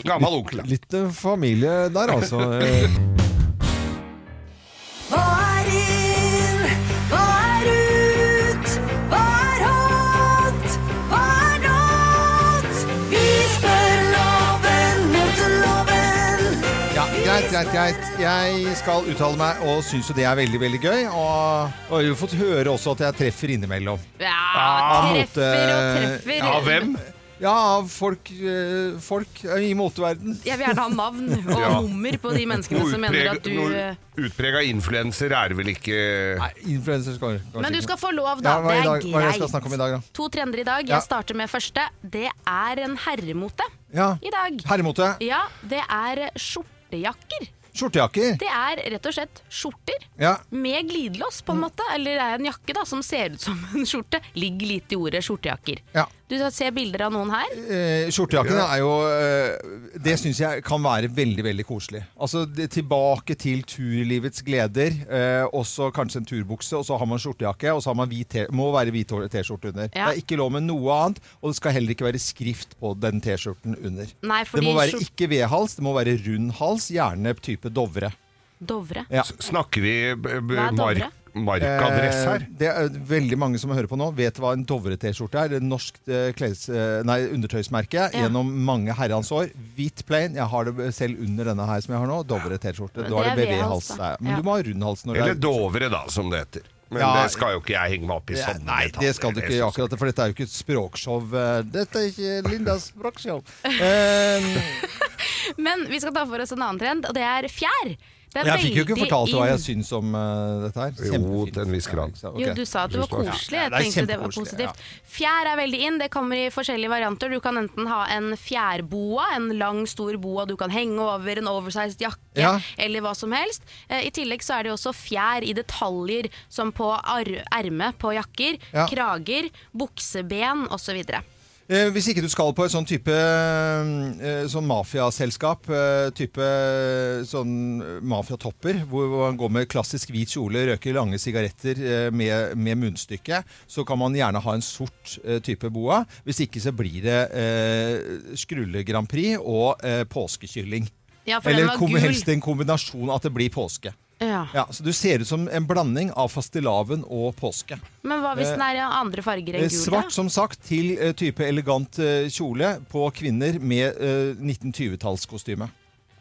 Gammel onkel, da. Litt eh, familie der, altså. Eh, Hva er inn? Hva er ut? Hva er hot? Hva er not? Vi spør loven mot loven. ja, greit, greit, greit. Jeg skal uttale meg og syns jo det er veldig, veldig gøy. Og, og jeg har jo fått høre også at jeg treffer innimellom. Ja, mot, treffer og eh, treffer. Ja, hvem? Ja, av folk, eh, folk eh, i moteverden. Jeg vil gjerne ha navn og Ja. nummer på de menneskene som mener at du eh, Utprega influenser er vel ikke Nei, influenser skal kanskje Men du ikke. skal få ja, lov, da. hva, er Det i er dag, hva er det jeg skal snakke om i greit. dag, da? To trender i dag. Ja. Jeg starter med første. Det er en herremote Ja. i dag. Herremote. Ja, det er skjortejakker. Skjortejakker. Det er rett og slett skjorter Ja. med glidelås, på en måte. Eller det er en jakke da, som ser ut som en skjorte. Ligger litt i ordet skjortejakker. Ja. Du ser bilder av noen her. Eh, skjortejakken er jo eh, Det syns jeg kan være veldig veldig koselig. Altså det, Tilbake til turlivets gleder. Eh, også kanskje en turbukse, og så har man skjortejakke, og så har man hvit te må være hvit hår- T-skjorte under. Ja. Det er ikke lov med noe annet, og det skal heller ikke være skrift på den T-skjorten under. Nei, det må fordi være skjort- ikke vedhals, det må være rund hals, gjerne type Dovre. Dovre. Ja. S- Snakker vi b- b- Hva er Dovre? mark, markadress her? Eh, Det er veldig mange som hører på nå vet hva en Dovre-T-skjorte er. Det er norsk eh, kles, eh, nei, undertøysmerke gjennom mange herrens år. Hvit plain. Jeg har det selv under denne her som jeg har nå. Dovre-T-skjorte. Men Da er det det er BV-hals. V-hals, da. der. Men Ja. du må ha rund hals når Eller det er Dovre, da, som det heter. Men Ja. det skal jo ikke jeg henge meg opp i Det er- sånne Nei, det skal du ikke gjøre akkurat, for dette er jo ikke et språkshow. Eh, Dette er ikke Lindas språkshow. Eh, Men vi skal ta for oss en annen trend, og det er fjær. Det er jeg fikk jo ikke veldig fortalt hva inn- jeg syns om eh, dette her. Jo, til en viss grad. Ja, ikke sant? Jo, Ok. du sa at det var Du sa- koselig. Ja, Jeg det er tenkte det var kjempekoselig, positivt. Fjær er veldig inn. Det kommer i forskjellige varianter. Du kan enten ha en fjærboa, en lang, stor boa du kan henge over, en oversized jakke Ja. eller hva som helst. Eh, I tillegg så er det jo også fjær i detaljer, som på ar- ermet på jakker, Ja. krager, bukseben osv. Eh, hvis ikke du skal på et sånn type eh, sånn mafiaselskap, eh, type sånn mafiatopper, hvor man går med klassisk hvit kjole, røker lange sigaretter eh, med, med munnstykke, så kan man gjerne ha en sort eh, type boa. Hvis ikke så blir det eh, skrulle Grand Prix og eh, påskekylling. Ja, for Eller den var kom, gul. helst en kombinasjon at det blir påske. Ja. Ja, så du ser ut som en blanding av fastelavn og påske. Men hva hvis den er av andre farger enn Eh, gul? da? Svart, som sagt, til eh, type elegant eh, kjole på kvinner med eh, 1920-tallskostyme.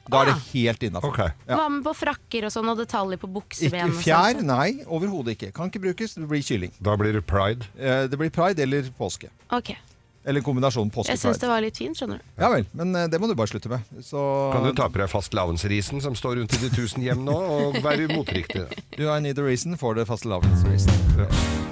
Da Ah. er det helt innafor. Ok. Ja. Hva med på frakker og sånn, og detaljer på bukseben? Ikke og sånn? sånt? fjær, nei, overhodet ikke. Kan ikke brukes, det blir kylling. Da blir det pride. Eh, Det blir pride eller påske. Ok, Eller kombinasjon Jeg syns påske-pride. det var litt fint, skjønner du. Ja vel, men eh, det må du bare slutte med. Så Kan du ta på deg fastelavnsrisen som står rundt i de tusen hjem nå, og være motriktig? Do I need a reason for the fastelavnsreason? Ja.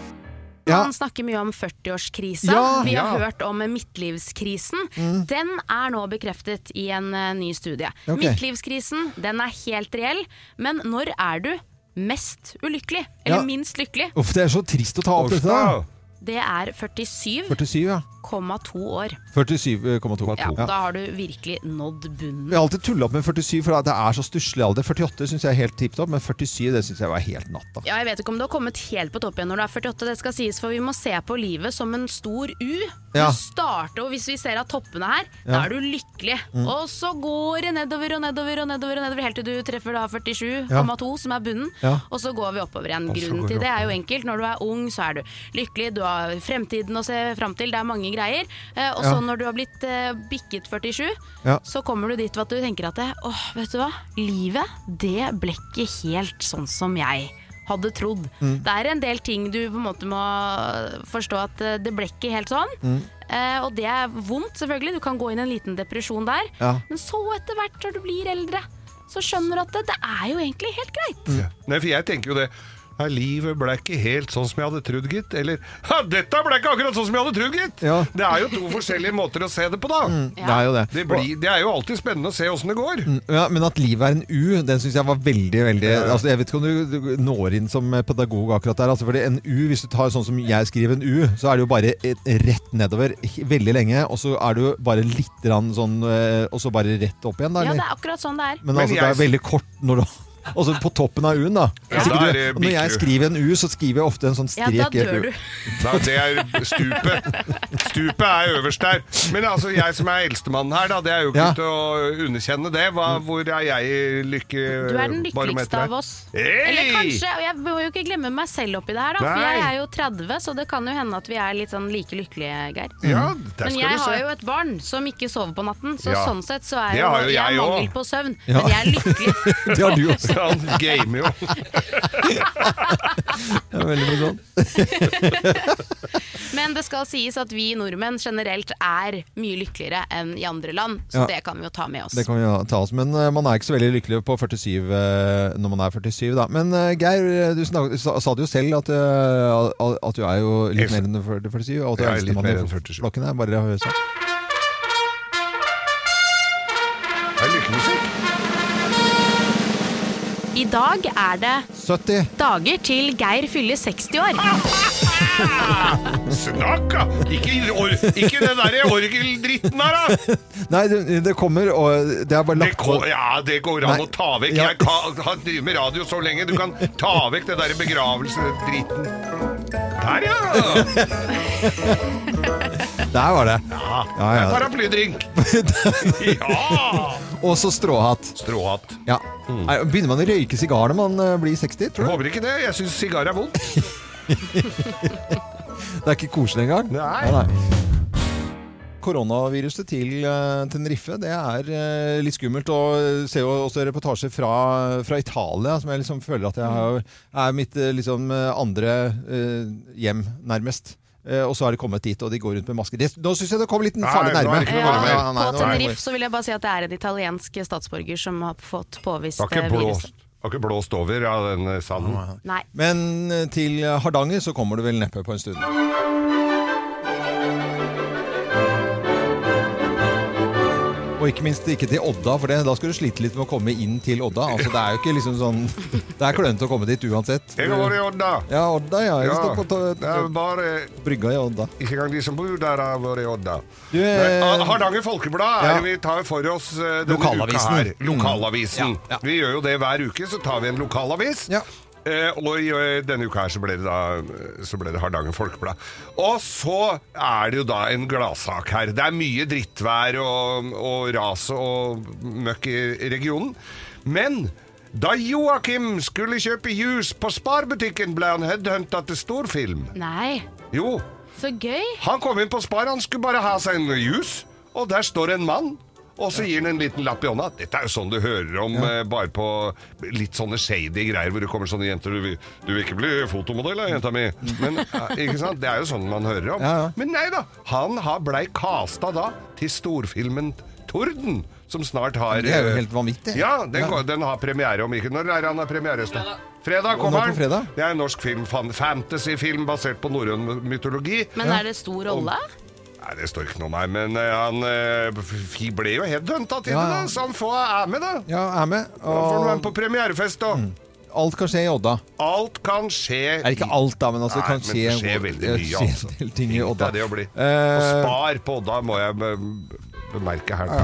Ja. Han snakker mye om 40-årskrisa. Ja, Mm. Vi har ja. hørt om midtlivskrisen. Den er nå bekreftet i en eh, ny studie. Ok. Midtlivskrisen den er helt reell, men når er du mest ulykkelig? Eller Ja. minst lykkelig? Uff, det er så trist å ta opp dette. da. Det er 47 47, ja. 47,2 år. 47,2. Ja, Da har du virkelig nådd bunnen. Jeg har alltid tulla opp med 47, for det er så stusslig alder. 48 syns jeg er helt tipp topp, men 47 det syns jeg var helt natta. Ja, jeg vet ikke om du har kommet helt på topp igjen når du er 48, det skal sies, for vi må se på livet som en stor U. Ja. Du starter, og hvis vi ser av toppene her, da Ja. er du lykkelig. Og så går det nedover og nedover og nedover, og nedover helt til du treffer da 47,2, som er bunnen. Ja. Og så går vi oppover igjen. Og så går Grunnen vi til det er jo enkelt. Når du er ung, så er du lykkelig, du har fremtiden å se fram til, det er mange greier. Eh, Og Ja. så når du har blitt eh, bikket 47, Ja. så kommer du dit ved at du tenker at det, åh, vet du hva, livet det ble ikke helt sånn som jeg hadde trodd. Mm. Det er en del ting du på en måte må forstå at eh, det ble ikke helt sånn. Mm. Eh, og det er vondt, selvfølgelig. Du kan gå inn i en liten depresjon der. Ja. Men så etter hvert, når du blir eldre, så skjønner du at det, det er jo egentlig helt greit. Mm. Nei, for jeg tenker jo det. Nei, livet ble ikke helt sånn som jeg hadde trodd, gitt. Eller ha, 'Dette ble ikke akkurat sånn som jeg hadde trodd, gitt!' Ja. Mm. Det er jo to forskjellige måter å se det på, da. Det er jo det. Det, blir, det er jo alltid spennende å se åssen det går. Ja, men at livet er en U, den syns jeg var veldig veldig altså, Jeg vet ikke om du, du når inn som eh, pedagog akkurat der. Altså, fordi en U, Hvis du tar sånn som jeg skriver en U, så er det jo bare et, rett nedover he- veldig lenge. Og så er det jo bare litt grann sånn eh, Og så bare rett opp igjen, da. Ja, eller? det er akkurat sånn det er. Men Men altså, det jeg- er veldig kort når du Og så på toppen av U-en, da. Hvis da ikke er du, det og når jeg bikkju. skriver en U, så skriver jeg ofte en sånn strek. Ja, i da et U. dør du. Nei, det er stupet. Stupet er øverst der. Men altså, jeg som er eldstemann her, da, det er jo ikke Ja. til å underkjenne det. Hva, hvor er jeg i Du er den lykkebarometeret? lykkeligste av oss. Hey! Eller kanskje, og jeg må jo ikke glemme meg selv oppi det her, da. For Nei. jeg er jo 30, så det kan jo hende at vi er litt sånn like lykkelige, Geir. Ja, der Men jeg skal du har se. jo et barn som ikke sover på natten, så Ja. sånn sett så er Det jo har jo jeg, jeg har også. mangel på søvn. Ja. Men jeg er lykkelig. Det har du også. Han gamer jo. Det er veldig mye sånn. Men det skal sies at vi nordmenn generelt er mye lykkeligere enn i andre land, så Ja. det kan vi jo ta med oss. Det kan vi jo ta oss, men eh, man er ikke så veldig lykkelig på 47 eh, når man er 47, da. Men eh, Geir, eh, du snak, sa, sa det jo selv at, eh, al- at du er jo litt mer enn 47. Og at du Jeg er er litt eldstemann mer i enn 47. flokken her. Bare hør sånn. Det er lykkemusikk. I dag er det 70! dager til Geir fyller 60 år. Snakka! Ikke, or, ikke det derre orgeldritten her, da! Nei, det, det kommer, og det er bare Det lagt går, ja, det går an Nei. å ta vekk. Ja. Jeg kan, har driver med radio så lenge. Du kan ta vekk det derre begravelsedritten. Der, ja! Der var det! Ja, Ja, ja. Paraplydrink. ja! Og så stråhatt. Stråhatt. Ja. Mm. Nei, Begynner man å røyke sigar når man eh, blir 60? Jeg Tror du? håper ikke det. Jeg syns sigar er vondt. Det er ikke koselig engang? Nei. Koronaviruset til eh, Tenerife, det er eh, litt skummelt. Og ser jo også reportasjer fra, fra Italia, som jeg liksom føler at jeg har, er mitt eh, liksom, eh, andre eh, hjem, nærmest. Eh, Og så er de kommet dit, og de går rundt med masker. Det, nå syns jeg det kom litt Nei, farlig nå er nærme. det ikke noe Ja, farlig mer. nei, nå på er det- Tenerife så vil jeg bare si at det er en italiensk statsborger som har fått påvist Har ikke eh, viruset. blåst, har ikke blåst over av den eh, sanden. Nei. Men eh, til Hardanger så kommer du vel neppe på en stund. Og ikke minst ikke til Odda, for det, da skal du slite litt med å komme inn til Odda. Altså, det er jo ikke liksom sånn Det er klønete å komme dit uansett. Jeg har vært i Odda. Ja, Odda, ja. Jeg Ja, står på to- det er bare brygga i Odda. ikke engang de som bor der, har vært i Odda. Du, Nei, eh, ah, Hardanger Folkeblad er ja. det vi tar for oss eh, denne Lokalavisen. uka her. Lokalavisen. Mm. Ja, ja. Vi gjør jo det hver uke, så tar vi en lokalavis. Ja. Eh, og i, eh, denne uka her så ble det da eh, Så ble det Hardanger Folkeblad. Og så er det jo da en gladsak her. Det er mye drittvær og, og ras og møkk i regionen. Men da Joakim skulle kjøpe jus på Sparbutikken, ble han headhunta til storfilm. Nei. Jo, Så gøy. han kom inn på Spar, han skulle bare ha seg en jus, og der står en mann. Og så gir han en liten lapp i hånda. Dette er jo sånn du hører om eh, bare på litt sånne shady greier hvor det kommer sånne jenter Du vil, du vil ikke bli fotomodell, da, jenta mi. Men, eh, ikke sant? Det er jo sånn man hører om. Ja, ja. Men nei da. Han har blei casta da til storfilmen Torden, som snart har Det er jo eh, helt vanvittig. ja, den, Ja. går- den har premiere om ikke Når er han har premiere? Øystein? Fredag Nå kommer på fredag? den. Det er en norsk film, fan- fantasyfilm basert på norrøn mytologi. Men er det stor rolle? Nei, det står ikke noe om her, men eh, han eh, f- ble jo headhunta til Ja, det, ja. da, så han får er med, da. Ja, er med. Da får han være med Og, på premierefest, da. alt kan skje i Odda. Alt kan skje Mm. Er ikke alt, da, men altså, Nei, det kan men skje, det skjer veldig det mye, skjer en altså. del ting i Tenk Odda. deg det å bli. Og Eh, spar på Odda, må jeg be- bemerke her.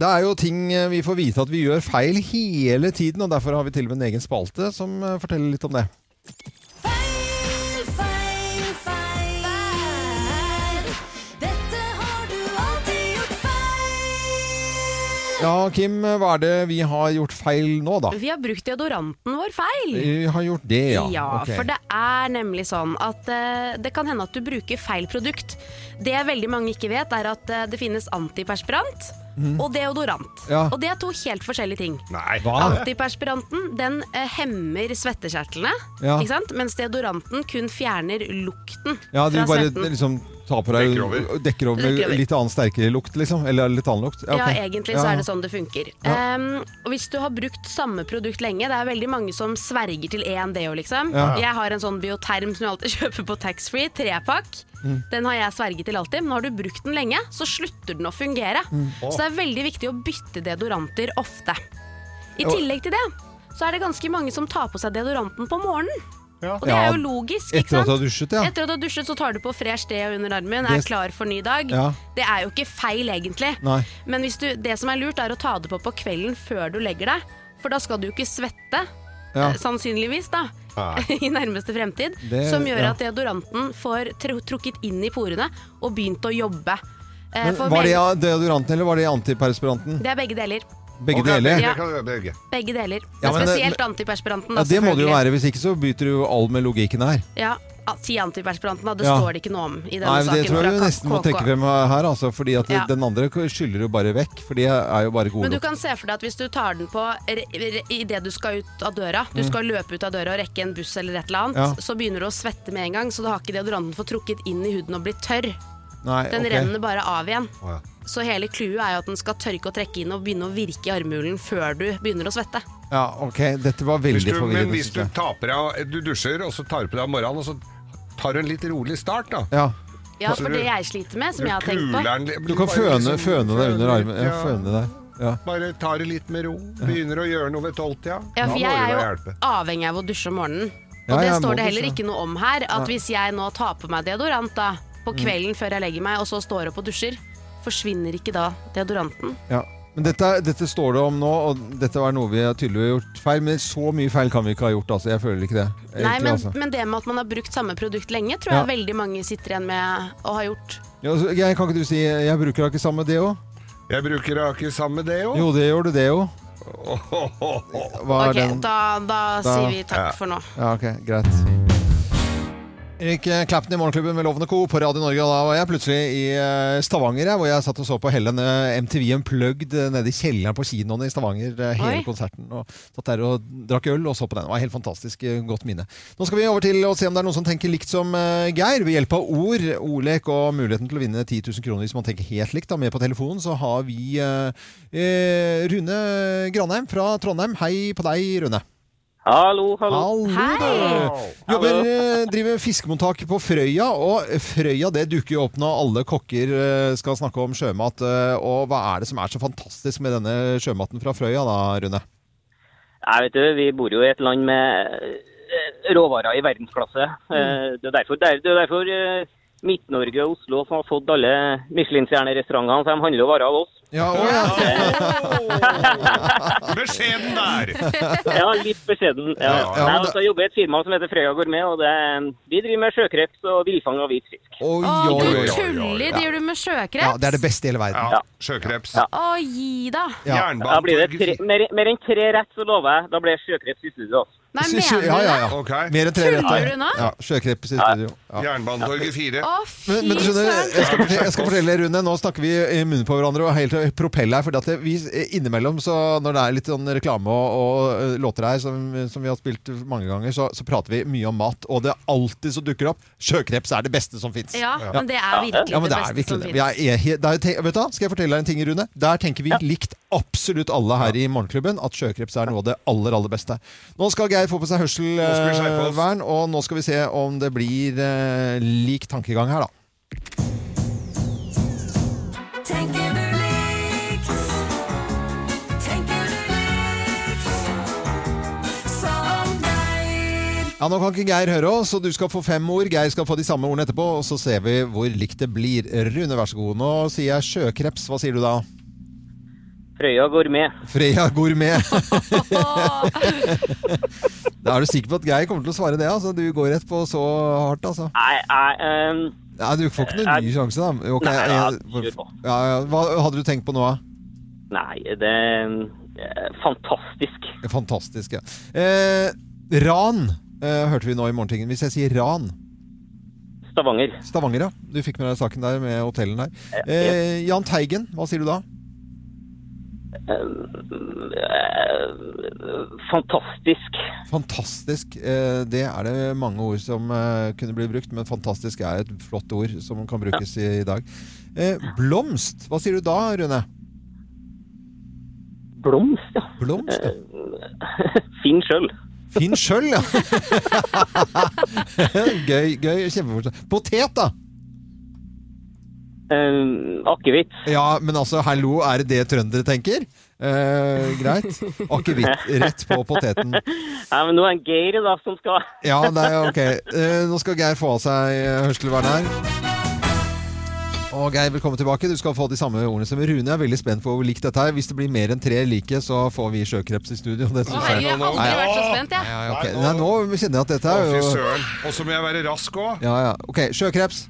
Det er jo ting eh, vi får vite at vi gjør feil hele tiden, og derfor har vi til og med en egen spalte som eh, forteller litt om det. Feil, feil, feil. Dette har du alltid gjort feil. Ja, Kim, eh, hva er det vi har gjort feil nå, da? Vi har brukt deodoranten vår feil. Vi har gjort det, ja. Ok. for det er nemlig sånn at eh, det kan hende at du bruker feil produkt. Det veldig mange ikke vet, er at eh, det finnes antiperspirant og deodorant. Mhm. Ja. Og det er to helt forskjellige ting. Nei, Hva? Antiperspiranten den eh, hemmer svettekjertlene, Ja. ikke sant? mens deodoranten kun fjerner lukten Ja, du fra bare svetten. liksom tar på deg Dekker over. og dekker over Dekker over. med litt annen sterkere lukt, liksom? Eller litt annen lukt? Ja, ok. egentlig så Ja. er det sånn det funker. Ja. Ehm, og hvis du har brukt samme produkt lenge, det er veldig mange som sverger til én deo, liksom. Ja. Jeg har en sånn bioterm som jeg alltid kjøper på taxfree, trepakk. Mm. Den har jeg sverget til alltid, men har du brukt den lenge, så slutter den å fungere. Mm. Så det er veldig viktig å bytte deodoranter ofte. I Og- tillegg til det, så er det ganske mange som tar på seg deodoranten på morgenen. Og det Ja, er jo logisk, Etter ikke at sant? du har dusjet, ja. Etter at du har dusjet, så tar du på fresh deo under armen, Det- er klar for ny dag. Ja. Det er jo ikke feil, egentlig. Nei. Men hvis du, det som er lurt, er å ta det på på kvelden før du legger deg. For da skal du ikke svette, ja. eh, sannsynligvis, da. Nei. I nærmeste fremtid. Det- som gjør ja. at deodoranten får tr trukket inn i porene og begynt å jobbe. Eh, Men for var det veldig- deodoranten eller var det antiperspiranten? det er begge deler. Begge Ok, deler? Ja. Ja. det kan jeg begge. Begge deler. Ja, men men det- spesielt antiperspiranten. da, Det må det jo selvfølgelig. være, hvis ikke så bryter du jo all med logikken her. Ja, ah, Ti antiperspiranten, da. Det Ja. står det ikke noe om i denne Nei, men saken. Det tror fra jeg du K- nesten må KK. tenke frem her, altså, fordi at Ja. den andre skyller jo bare vekk. For de er jo bare gode Men du nok. kan se for deg at hvis du tar den på idet du skal ut av døra, du skal løpe ut av døra og rekke en buss eller et eller annet, Mm. Ja. så begynner du å svette med en gang, så du har ikke deodoranten fått trukket inn i huden og blitt tørr. Nei, Den ok. renner bare av igjen. Å, ja. Så hele clouet er jo at den skal tørke og trekke inn og begynne å virke i armhulen før du begynner å svette. Ja, ok, dette var Hvis veldig du, men forvirrende. hvis synes du jeg. taper av Du dusjer, og så tar du på deg om morgenen, og så tar du en litt rolig start, da. Ja, Ja, Så for du- det jeg sliter med, Du som jeg har tenkt på kuler den- du kan bare føne, liksom- føne deg under armen. litt, Ja, føne deg. Ja. Bare tar det litt med ro. Begynner å gjøre noe ved tolvtida. ja, Da for må jeg du er bare jo hjelpe. avhengig av å dusje om morgenen. Og Ja, det ja, må står det dusje. heller ikke noe om her. At hvis jeg nå tar på meg deodorant da, på Mm. kvelden før jeg legger meg, og så står opp og dusjer, forsvinner ikke da deodoranten? Ja. Men dette, dette står det om nå, og dette var noe vi har tydeligvis gjort feil. Men så mye feil kan vi ikke ha gjort, altså. Jeg føler ikke det. Egentlig, Nei, men, altså. men det med at man har brukt samme produkt lenge, tror Ja. jeg veldig mange sitter igjen med å ha gjort. Ja, altså, jeg, kan ikke du si 'jeg bruker da ikke samme deo'? Jeg bruker da ikke samme det, jo. Jo, det gjør du, deo. Hva er Ok, Ah, den? da, da sier vi takk Ja. for nå. Ja, ok, greit. Erik eh, Clapton i Morgenklubben med Lovende Co. på Radio Norge. Og da var jeg plutselig i eh, Stavanger, jeg, hvor jeg satt og så på eh, hele denne MTV Unplugged eh, nede i kjelleren på kinoen i Stavanger. eh, Hele Oi. konserten. Og satt der og drakk øl og så på den. Det var helt fantastisk eh, godt minne. Nå skal vi over til å se om det er noen som tenker likt som eh, Geir, ved hjelp av ord, ordlek og muligheten til å vinne 10 000 kroner hvis man tenker helt likt. Da. Med på telefonen så har vi eh, eh, Rune Granheim fra Trondheim. Hei på deg, Rune. Hallo, hallo. Hallo, Hei. der. Jobber, eh, driver fiskemottak på Frøya, og Frøya det dukker jo opp når alle kokker eh, skal snakke om sjømat. eh, Og hva er det som er så fantastisk med denne sjømaten fra Frøya da, Rune? Nei, vet du, vi bor jo i et land med eh, råvarer i verdensklasse. Eh, Mm. Det er derfor, det er- det er derfor eh, Midt-Norge og Oslo som har fått alle Michelin-stjernerestaurantene, så de handler jo varer av oss. Eh, Ja, å, ja. Beskjeden der! Ja, litt beskjeden. Ja. ja, Ja, Nei, men da- altså, jeg jobber i et firma som heter Frøya Gourmet, og det, vi driver med sjøkreps og villfang av hvit fisk. Oi, Å, oi, du oi. oi, oi. tuller! Driver du med sjøkreps? Ja, det er det beste i hele verden. Ja, sjøkreps. Ja. Å, gi da! Ja. Da blir det tre, Jernbanetorget. mer, mer enn tre rett, så lover jeg. Da blir det sjøkreps i studio. altså. Nei, Sy- sy- mener du ja, ja, det? ja. Ok. Mer enn tre Tuller retter. du nå? Ja, Sjøkreps i studio. Ja. Jernbanetorget 4. Å, fy Men, men du skjønner, søren! jeg skal, fortelle, jeg skal fortelle deg, Rune, nå snakker vi i munnen på hverandre og er helt propell her, fordi at vi eh, innimellom, så når det er litt sånn reklame og, og eh, låter her som, som vi har spilt mange ganger, så, så prater vi mye om mat, og det er alltid som dukker opp, sjøkreps er det beste som finnes. Ja, men det er virkelig Ja, men det det er beste virkelig som det. Vi fins. er, er, he- det er, jo te- vet du, hva? skal jeg fortelle deg en ting, Rune? Der tenker vi likt absolutt alle her i Morgenklubben at sjøkreps er noe av det aller, aller beste. Nå skal Geir få på seg skal vi skjerpe oss. hørselvern, og nå skal vi se om det blir eh, lik tankegang her, da. Tenker du likt? Tenker du likt? Ja, Nå kan ikke Geir høre oss, så du skal få fem ord. Geir skal få de samme ordene etterpå, og så ser vi hvor likt det blir. Rune, vær så god. Nå sier jeg sjøkreps. Hva sier du da? Frøya gourmet. Freya gourmet. da er du sikker på at Geir kommer til å svare det? altså. Du går rett på så hardt, altså. Nei, jeg ehm, Nei, Du får ikke noen ny sjanse, da. Ok, Nei, ja, jeg- kjør på. ja, ja. Hva hadde du tenkt på nå, da? Nei, det er eh, fantastisk. Fantastisk, ja. Eh, ran eh, hørte vi nå i morgentingen. Hvis jeg sier ran Stavanger. Stavanger, ja. Du fikk med deg saken der med hotellen der. Eh, Jahn Teigen, hva sier du da? Fantastisk. Fantastisk. Eh, det er det mange ord som eh, kunne bli brukt, men fantastisk er et flott ord som kan brukes i, i dag. Eh, blomst, hva sier du da, Rune? Blomst, ja. Blomst, ja. Finn sjøl. Finn sjøl, ja! gøy, gøy. Kjempeforslag. Potet, da! Uh, Akevitt. Ja, men altså, hallo, er det det trøndere tenker? Eh, greit. Akevitt rett på poteten. Nei, men nå er det Geir da, som skal Ja, det er ok. Eh, nå skal Geir få av seg eh, hørselsvernet her. Og Geir, velkommen tilbake. Du skal få de samme ordene som Rune. Jeg er veldig spent på hvor likt dette er. Hvis det blir mer enn tre like, så får vi sjøkreps i studio. Det Å, synes jeg. herregud, jeg har aldri vært så spent, jeg. Ja, ja, ok. Nei, nå kjenner jeg at dette Å, er fy jo søren. Og så må jeg være rask òg. ja, ja. Ok, sjøkreps.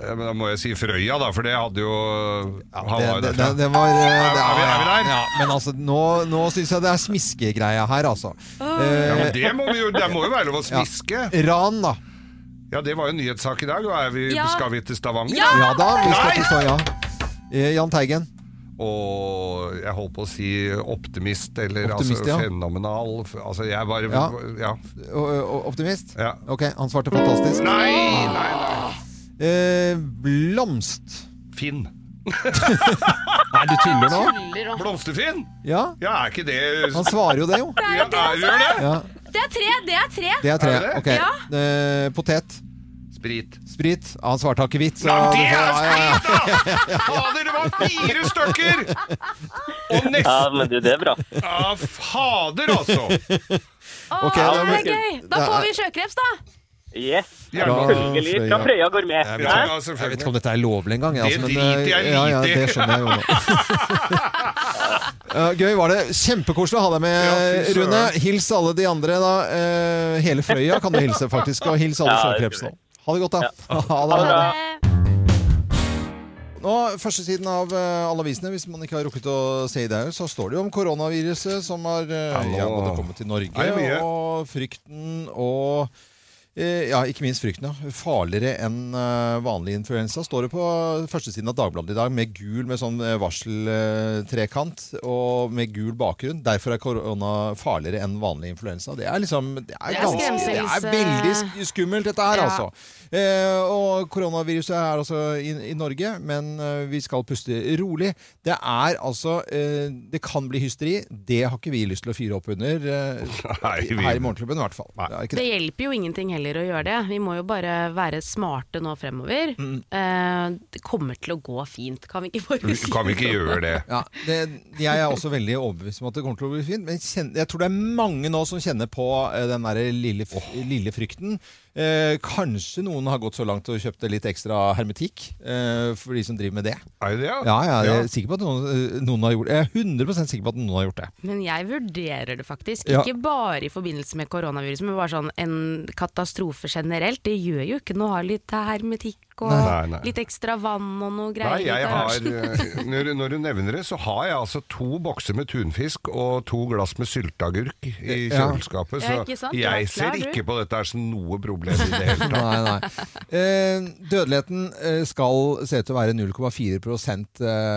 Men da må jeg si Frøya, da, for det hadde jo Han Det, var jo det, det, derfra. det var eh, Er det, vi- er vi der? Ja, men altså, nå, nå syns jeg det er smiskegreia her, altså. Ja, Eh, men det må, vi jo, det må jo være lov å smiske. ran, da. Ja, det var jo en nyhetssak i dag. Og er vi, Ja. Skal vi til Stavanger? Ja! Ja da, vi skal Nei! ikke stå ja. Eh, Jahn Teigen. Og jeg holdt på å si optimist, eller Optimist, altså ja. fenomenal. F- Altså, jeg bare Ja. ja. O- o- Optimist? Ja. Ok, han svarte fantastisk. Nei, nei, nei. Eh, blomst. Finn. Nei, du tuller nå? Tuller og- Blomsterfinn? Ja, Ja, er ikke det han svarer jo det, jo. ja, er gjør det? Ja, Det er tre! Det er tre! det er tre. Er det det? Ok. Ja. Eh, potet. Sprit. Sprit. Ja, han svarte akevitt. så- Ja, det er Ja, ja, ja. sprit, da! Fader, det var fire stykker! Og Ja, nesten men du, det er bra. Ja, fader, altså! Å, Ok, da- det er gøy! Da får vi sjøkreps, da. Yes. Ah, Ja, Selvfølgelig. Fra Frøya. Frøya går med. Ja, Hæ? ja, Jeg vet selvfølgelig. ikke om dette er lovlig engang. jeg, Det Altså, men, eh, driter jeg ja, ja, litt i. det skjønner jeg jo nå. Eh, Gøy var det. Kjempekoselig å ha deg med, eh, Ja, fy søren. Rune. Hils alle de andre, da. Eh, Hele Frøya kan du hilse, faktisk. Og hils alle Ja, det sjøkreps skal nå. Ha det godt, da. Ha det. Ha det. Eh, Nå, Førstesiden av eh, alle avisene, hvis man ikke har rukket å se i det, så står det jo om koronaviruset som har eh, Ja, nå- ja, både kommet til Norge, Er det mye? og frykten og eh, ja, ikke minst frykten. ja. Farligere enn eh, vanlig influensa. Står det på førstesiden av Dagbladet i dag med gul med sånn varseltrekant og med gul bakgrunn. Derfor er korona farligere enn vanlig influensa. Det er liksom Det er, er ganske, det er skremsels- veldig sk- skummelt, dette her, Ja. altså. Eh, og koronaviruset er altså i, i Norge, men eh, vi skal puste rolig. Det er altså eh, Det kan bli hysteri. Det har ikke vi lyst til å fyre opp under. Eh, Nei, vi- her i Morgenklubben, i hvert fall. Det er ikke Det det. hjelper jo ingenting heller å gjøre det. Vi må jo bare være smarte nå fremover. Mm. Eh, det kommer til å gå fint, kan vi ikke bare si Kan vi ikke gjøre det? Ja, det, jeg er også veldig overbevist om at det kommer til å bli fint. Men kjen- jeg tror det er mange nå som kjenner på eh, den der lille, f- lille frykten. Eh, kanskje noen har gått så langt og kjøpt litt ekstra hermetikk eh, for de som driver med det. Er det det? Ja, jeg er sikker på at noen, eh, noen har gjort Jeg er 100 sikker på at noen har gjort det. Men jeg vurderer det faktisk. Ja. Ikke bare i forbindelse med koronaviruset, men bare sånn en katastrofe generelt. Det gjør jo ikke noe å ha litt hermetikk og Nei, nei. litt ekstra vann og noe greier Nei, jeg i har, garasjen. eh, når, når du nevner det, så har jeg altså to bokser med tunfisk og to glass med sylteagurk i Ja. kjøleskapet. Ja, Så ikke sant? Du er jeg klar, ser du. ikke på dette her som noe problem i det hele tatt. Nei, nei. Eh, dødeligheten eh, skal se ut til å være 0,4 prosent,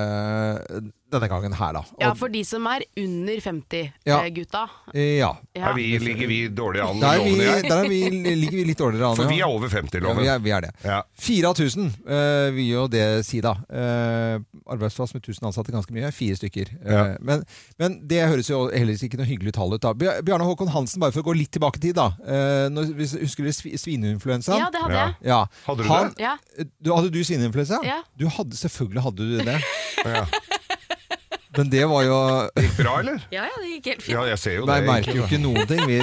eh, denne gangen her, da. Og, Ja, for de som er under 50, Ja. eh, gutta. eh, ja. Ja. Er vi, ligger vi dårlig an i Der, er vi, lovene her? der er vi, ligger vi litt dårligere an. For vi ja. er over 50-loven. ja, vi, er, vi er det. Ja. 4000 eh, vil jo det si, da. Eh, arbeidsplass med 1000 ansatte, ganske mye. Fire stykker. Eh, Ja. men, men det høres jo heller ikke noe hyggelig tall ut, da. Bjar- Bjarne Håkon Hansen, bare for å gå litt tilbake i tid, da. Eh, når, hvis- husker du svi- svineinfluensaen? Ja, det hadde Ja. jeg. Ja. Hadde du han, eh, det? Ja. Du, hadde du svineinfluensa? Ja. Du hadde, selvfølgelig hadde du det. Ja. Men det var jo Bra, eller? ja, ja, det gikk helt fint. Ja, jeg ser jo Nei, det. merker jo ikke noen ting. Vi,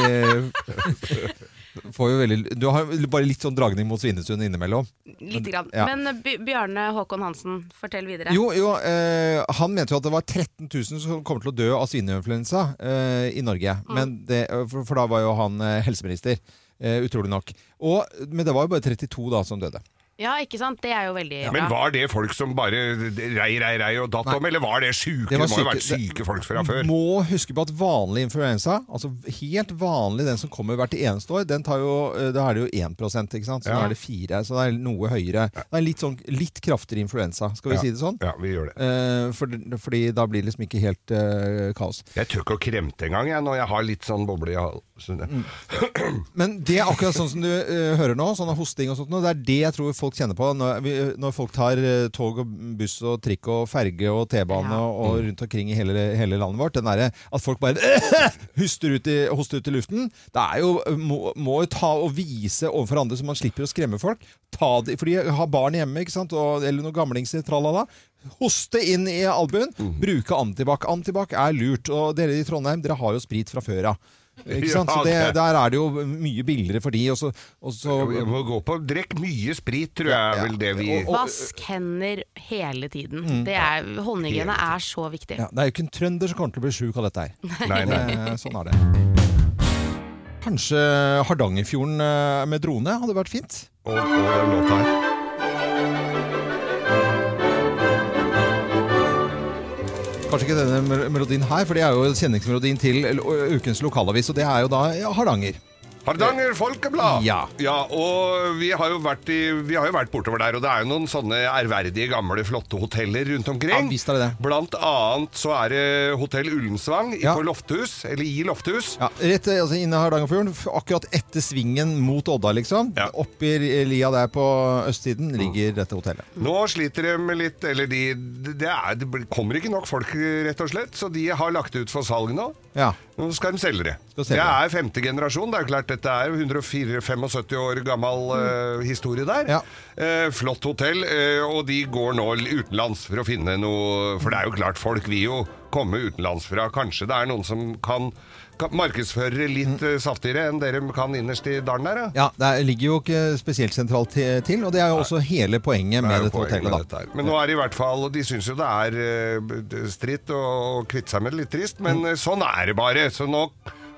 får jo veldig, du har jo bare litt sånn dragning mot Svinesund innimellom. Lite grann. Ja. Men eh, Bj- Bjarne Håkon Hansen, fortell videre. Jo, jo eh, Han mente jo at det var 13 000 som kommer til å dø av svineinfluensa eh, i Norge. Men det, eh, for, for da var jo han eh, helseminister. Eh, utrolig nok. Og, men det var jo bare 32 da som døde. Ja, ikke sant? Det er jo veldig Men bra. var det folk som bare rei, rei, rei og datt om, eller var det sjuke? Det Det, var må jo ha syke- vært syke folk fra før. Må huske på at vanlig influensa, altså helt vanlig den som kommer hvert eneste år, den tar jo, eh, da er det jo 1 ikke sant? Så Ja. da er det 4 så det er noe høyere. Det er litt, sånn, litt kraftigere influensa, skal vi si det sånn? Ja, vi gjør det. Eh, for, fordi da blir det liksom ikke helt eh, kaos. Jeg tør ikke å kremte engang jeg, når jeg har litt sånn boble i halsen. Mm. Men det er akkurat sånn som du eh, hører nå, sånn hosting og sånt, nå, det er det jeg tror folk kjenner på når, vi, når folk tar eh, tog og buss og trikk og ferge og T-bane Ja. og, og rundt omkring i hele, hele landet vårt. Den derre at folk bare huster ut i, hoster ut i luften. Det er jo, eh, må, må jo ta og vise overfor andre så man slipper å skremme folk. Ta det, fordi jeg har barn hjemme, ikke sant, og, eller noen gamlingser, tralala. Hoste inn i albuen, bruke antibac. Antibac er lurt, og dere i Trondheim, dere har jo sprit fra før av. Ikke sant? Så Ja, det, det- der er det jo mye billigere for de, og så, og så Vi må gå på Drekk mye sprit, tror jeg er vel det vi Og- og- Vask hender hele tiden. Det er, håndhygiene er så viktig. Mm. ja, Det er jo ikke en trønder som kommer til å bli sjuk av dette her. Nei, nei. Eh, Sånn er det. Kanskje Hardangerfjorden eh, med drone hadde vært fint? Og, og den låta her. Kanskje ikke denne mel- melodien her, for det er jo kjenningsmelodien til l- ukens lokalavis, og det er jo da ja, Hardanger. Hardanger Folkeblad! Ja. og vi har, jo vært i, vi har jo vært bortover der, og det er jo noen sånne ærverdige, gamle, flotte hoteller rundt omkring. Ja, visst er det det. Blant annet så er det Hotell Ullensvang i- Ja. på Lofthus, eller i Lofthus. Ja, rett eh, altså, inne i Hardangerfjorden, f- akkurat etter svingen mot Odda, liksom. Ja. Oppi eh, lia der på østsiden ligger dette hotellet. Nå sliter de med litt Eller de, det, er, det blir- kommer ikke nok folk, rett og slett, så de har lagt det ut for salg nå. Ja. Nå skal de selge det. Skal selge det er femte generasjon. Det er jo klart Dette er jo 174 år gammel eh, historie der. Mm. Ja. Eh, flott hotell, eh, og de går nå l- utenlands for å finne noe For det er jo klart, folk vil jo komme utenlands fra. Kanskje det er noen som kan, kan markedsføre litt Mm. eh, saftigere enn dere kan innerst i dalen der? da? Ja, det ligger jo ikke spesielt sentralt ti- til, og det er jo også hele poenget med Det er jo dette poenget med hotellet. dette da. her. Men nå er det i hvert fall De syns jo det er eh, stritt og kvitte seg med det litt trist, Mm. men eh, sånn er det bare. Så nå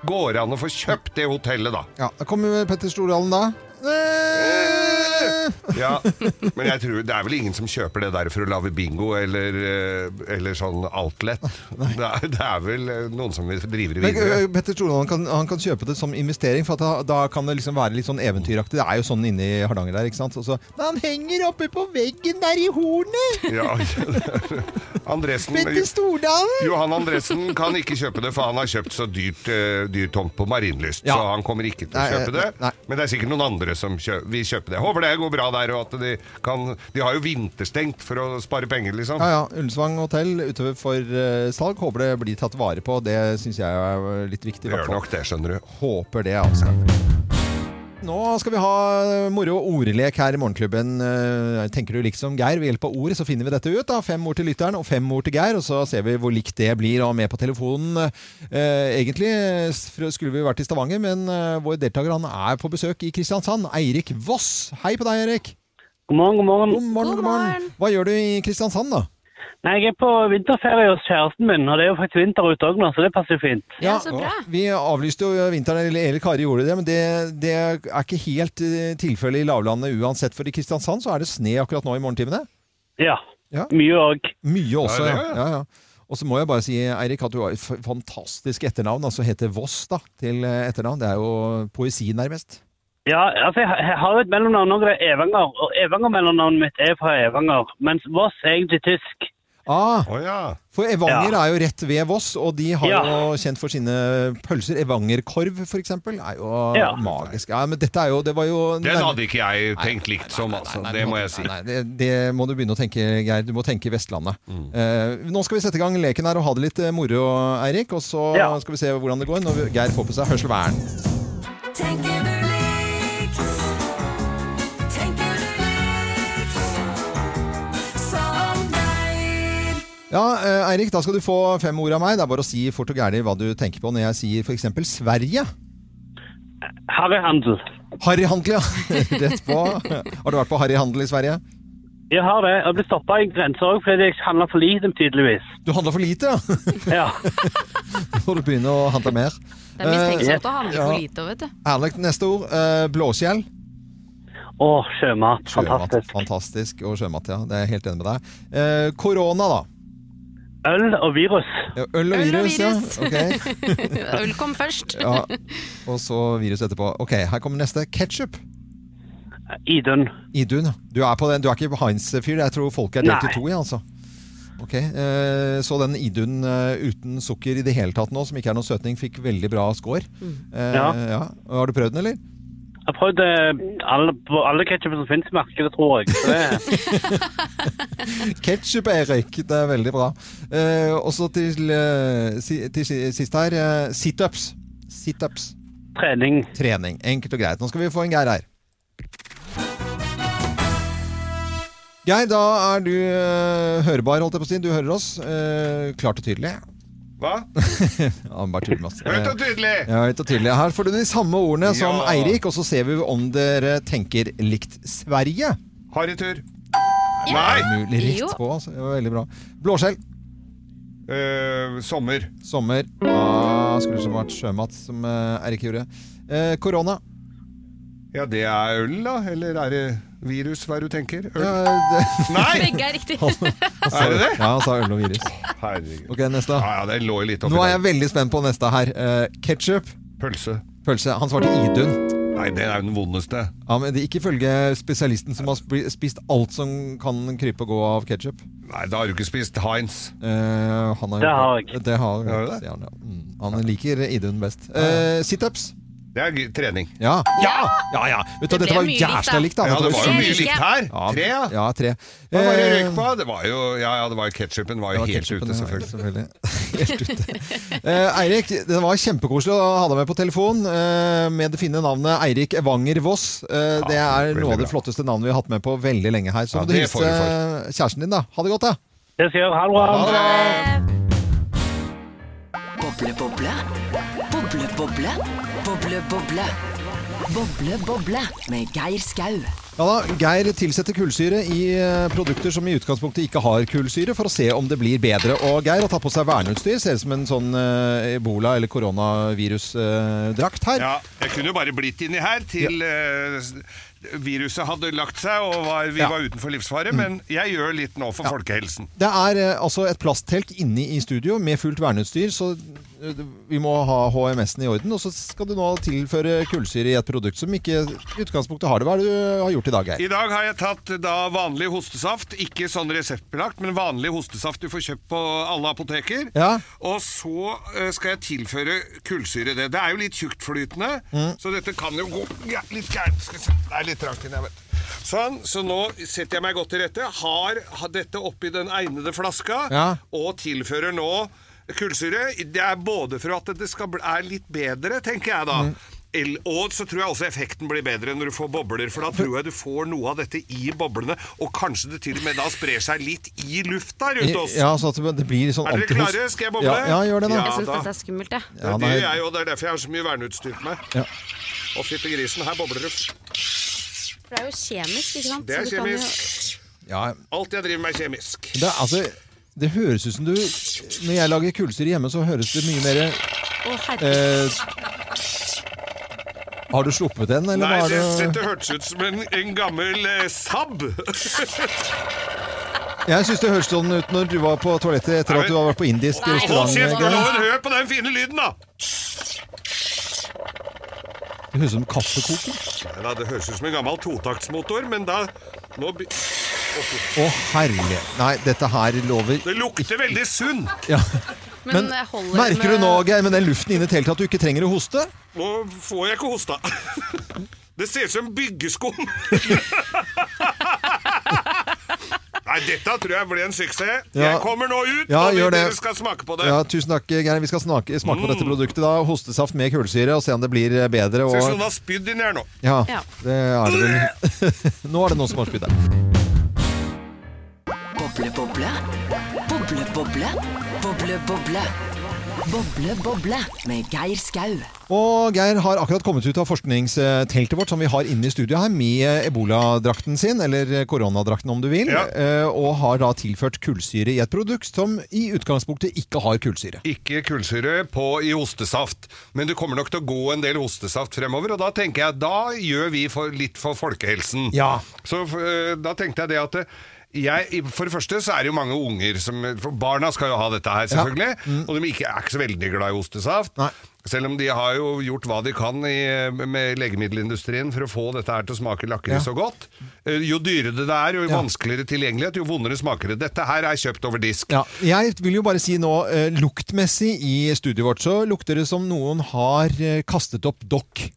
går det an å få kjøpt det hotellet, da. Ja, da kommer jo Petter Stordalen da. Ja, men jeg tror det er vel ingen som kjøper det der for å lage bingo eller, eh, eller sånn outlet. Det er, det er vel eh, noen som vil drive det Men, ø, videre. ø, Petter Stordalen kan, han kan kjøpe det som investering, for at da, da kan det liksom være litt sånn eventyraktig. Det er jo sånn inne i Hardanger der, ikke sant? Og så, «Men han henger oppe på veggen der i hornet! Ja. Andresen, Petter Stordalen! Johan Andresen kan ikke kjøpe det, for han har kjøpt så dyrt, eh, dyr tomt på Marienlyst. Ja. Så han kommer ikke til å Nei, kjøpe det. nei. Men det er sikkert noen andre som kjø vil kjøpe det. Håper det går bra der, og at de kan De har jo vinterstengt for å spare penger, liksom. Ja, ja. Ullensvang hotell utover for ø, salg. Håper det blir tatt vare på. Det syns jeg er litt viktig. i Det hvert gjør fall. nok det, skjønner du. Håper det, altså. Nå skal vi ha eh, moro ordlek her i Morgenklubben. Eh, Tenker du liksom Geir ved hjelp av ord, så finner vi dette ut. da. Fem ord til lytteren og fem ord til Geir, og så ser vi hvor likt det blir. Og med på telefonen eh, Egentlig eh, skulle vi vært i Stavanger, men eh, vår deltaker han er på besøk i Kristiansand. Eirik Voss. Hei på deg, Eirik. God morgen, god morgen. God morgen, god morgen. Hva gjør du i Kristiansand, da? Nei, jeg er på vinterferie hos kjæresten min, og det er jo faktisk vinter ute òg nå, så det passer fint. Ja, så bra. Vi avlyste jo vinteren, eller Eli Kari gjorde det, men det, det er ikke helt eh, tilfellet i lavlandet uansett. For i Kristiansand så er det sne akkurat nå i morgentimene. Ja. Ja. Mye òg. Mye også, ja. Ja, det er det. ja, ja. Og så må jeg bare si, Eirik, at du har et f- fantastisk etternavn, altså heter Voss da, til eh, etternavn. Det er jo poesi nærmest. Ja, altså jeg har- jeg har et mellomnavn òg, det er Evanger. Og Evanger-mellomnavnet mitt er fra Evanger, mens Voss er egentlig tysk. Ah, Å ja. for Evanger Ja. er jo rett ved Voss, og de har Ja. jo kjent for sine pølser. Evangerkorv, for eksempel, er jo Ja. magisk. Ja, men dette er jo, det var jo... Den nærmere- hadde ikke jeg tenkt likt som, altså. Det må jeg si. Nei, det, det må du begynne å tenke, Geir. Du må tenke Vestlandet. Mm. Eh, nå skal vi sette i gang leken her og ha det litt eh, moro, Eirik. Og så Ja. skal vi se hvordan det går når Geir får på seg hørselvern. Tenker du likt? Tenker du likt? Som deg? Ja, eh, Eirik, da skal du få fem ord av meg. Det er bare å si fort og gærlig hva du tenker på når jeg sier f.eks. Sverige. Harry Handel. Harry Handel, ja. Rett på. Har du vært på Harry Handel i Sverige? Jeg har det. Jeg ble stoppa i grensa òg fordi jeg handla for lite, tydeligvis. Du handla for lite, ja. Ja. Nå får du begynne å handle mer. Det er mistenksomt å Eh, handle ja. for lite, vet du. Erlend, neste ord. Eh, Blåskjell. Å, sjømat. Sjømat. Fantastisk. Fantastisk. Og sjømat, ja. Det er jeg helt enig med deg. Eh, Korona, da. Øl og virus. Ja, Øl og Øl og virus, ja. virus. Ok. Øl kom først. ja. Og så virus etterpå. Ok, her kommer neste. Ketsjup. Idun. Idun, ja. Du er, på den. du er ikke Heinz-fyr. Jeg tror folk er delt i Nei. to i, altså. Ok, eh, Så den Idun eh, uten sukker i det hele tatt nå, som ikke er noe søtning, fikk veldig bra score. Eh, Ja. ja. Har du prøvd den, eller? Jeg har prøvd eh, alle, på alle ketsjup som finnes i markedet, tror jeg. Så det, Ketchup, Erik. Det er veldig bra. Eh, og så til, eh, si, til si- sist her. Eh, Situps. Situps. trening. Trening. Enkelt og greit. Nå skal vi få en Geir her. Geir, da er du eh, hørbar, holdt jeg på å si. Du hører oss eh, klart og tydelig. Hva? Ja, bare tull med oss. Høyt Eh, og tydelig! ja, høyt og tydelig. Her får du de samme ordene som Ja. Eirik, og så ser vi om dere tenker likt Sverige. Harry tur. Er Nei! det mulig Jo. Rett på, altså. Det var veldig bra. Blåskjell. Eh, sommer. Sommer. Ah, skulle ikke vært sjømat, som eh, Erik gjorde. Eh, korona. Ja, det er øl, da? Eller er det virus, hva er det du tenker? Øl? Eh, det- Nei! Begge er riktig. Er det det? ja, han sa øl og virus. Herregud. Ok, neste. Ja, ja, det lå jo litt oppi Nå er jeg der. veldig spent på neste her. Eh, Ketchup, Pølse. pølse. Han svarte Idun. Nei, det er jo den vondeste. Ja, men det er Ikke ifølge spesialisten som har sp- spist alt som kan krype og gå av Eh, ketsjup. Nei, da har du ikke spist Heinz. det Det har jeg. Det har Har du det? sier han, ja. Mm, han liker Idun best. Eh, Situps. Det er g- trening. Ja. Ja! ja, ja. Vet du, Det ble dette var jo mye likt, da. jævla likt, da. Ja, Dette det var jo sykt mye sykt. likt her. Ja, Tre, ja. ja. tre. Hva var det Eh, røyk på? Det var jo, ja, ja, det var jo ketsjupen var jo Det var helt ketchupen, ute, ja, selvfølgelig. Helt ute. Eh, Eirik, det var kjempekoselig å ha deg med på telefon eh, med det fine navnet Eirik Evanger Voss. Eh, det er veldig noe av det bra. flotteste navnet vi har hatt med på veldig lenge her. Så Ja, må du det får hilse kjæresten din, da. Ha det godt, da. Det skal jeg gjøre. Ha det bra. Boble, boble. Boble, boble. Boble, boble. Boble, boble. Med Geir Skau. Ja da, Geir tilsetter kullsyre i eh, produkter som i utgangspunktet ikke har kullsyre, for å se om det blir bedre. Og Geir har tatt på seg verneutstyr. Ser ut som en sånn eh, ebola- eller koronavirusdrakt her. Ja, jeg kunne jo bare blitt inni her til eh, s- viruset hadde lagt seg og var, vi Ja. Mm. var utenfor livsfare, men jeg gjør litt nå for folkehelsen. Det er eh, altså et plasttelt inne i studio med fullt verneutstyr, så eh, vi må ha HMS-en i orden. Og så skal du nå tilføre kullsyre i et produkt som ikke i utgangspunktet har det. Hva er det du har gjort i dag, Geir? I dag har jeg tatt da vanlig hostesaft, ikke sånn reseptbelagt, men vanlig hostesaft du får kjøpt på alle apoteker. Ja. Og så eh, skal jeg tilføre kullsyre i det. Det er jo litt tjuktflytende, så dette kan jo gå ja, litt gærent. Skal vi se. Det er litt trangt inni her, vet du. Sånn, så nå setter jeg meg godt til rette. Har, har dette oppi den egnede flaska, Ja. og tilfører nå kullsyre. Det er både for at det skal bli, er litt bedre, tenker jeg da. El- Og så tror jeg også effekten blir bedre når du får bobler, for da tror jeg du får noe av dette i boblene, og kanskje det til og med da sprer seg litt i lufta rundt oss. Ja, så at det- det blir sånn Er dere antihost. klare? Skal jeg boble? Ja, ja, gjør det, da. Jeg syns da. dette er skummelt, jeg. Ja, det nei. gjør jeg jo, det er derfor jeg har så mye verneutstyr på meg. Ja. Og fytti grisen, her bobler det. For det er jo kjemisk, ikke sant? Det er Så du kan jo- kjemisk. Ja, Alt jeg driver med, er kjemisk. det, er- altså, det høres ut som du Når jeg lager kullsyre hjemme, så høres det mye mer Å, herregud. eh, Har du sluppet den, eller Nei, hva det, er det? dette hørtes ut som en, en gammel eh, Saab. Jeg syns det høres sånn ut når du var på toalettet etter Nei, at du har vært på indisk Hold restaurant. Geir. kjeft, Gulloven, hør på den fine lyden, da! Det høres ut som kaffekoker. Nei, da, det høres ut som en gammel totaktsmotor, men da nå, be- Å, herlig. Nei, dette her lover Det lukter veldig sunn. ja. Men jeg holder Merker du med- nå, Geir, med den luften inne i teltet at du ikke trenger å hoste? Nå får jeg ikke hosta. Det ser ut som byggeskum. Nei, dette tror jeg blir en suksess. Ja. Jeg kommer nå ut, Ja, og vi- gjør det. dere skal smake på det. Mm. Ja, Tusen takk, Geir. Vi skal snake, smake på dette produktet. da Hostesaft med kullsyre og se om det blir eh, bedre. Ser ut som Og, det har spydd inni her nå. ja, Ja. det er det vel. Nå er det noen som har spydd her. Boble, boble. Boble, boble. Boble, boble. Boble, boble med Geir Skau. Og Geir har akkurat kommet ut av forskningsteltet vårt som vi har inne i studio her, med eboladrakten sin, eller koronadrakten om du vil, Ja. eh, og har da tilført kullsyre i et produkt som i utgangspunktet ikke har kullsyre. Ikke kullsyre på i ostesaft, men det kommer nok til å gå en del ostesaft fremover, og da tenker jeg da gjør vi for, litt for folkehelsen. Ja. Så eh, da tenkte jeg det at eh, jeg, for det første så er det jo mange unger som for Barna skal jo ha dette her, selvfølgelig. Og de ikke, er ikke så veldig glad i ostesaft. Mm. Nei. Selv om de har jo gjort hva de kan i, med legemiddelindustrien for å få dette her til å smake lakris Ja. og godt. Eh, Jo dyrere det er, jo Ja. vanskeligere tilgjengelighet, jo vondere smaker det. Dette her er kjøpt over disk. Ja, jeg vil jo bare si nå, eh, luktmessig i studiet vårt, så lukter det som noen har eh, kastet opp dokk.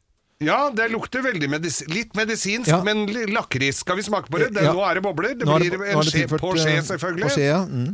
Ja, det lukter veldig medis litt medisinsk, Ja. men li- lakris. Skal vi smake på det? det Ja. Nå er det bobler. Det Nå er blir nå en er det skje, tilført, på skje, eh, selvfølgelig. På skje, ja. Mm.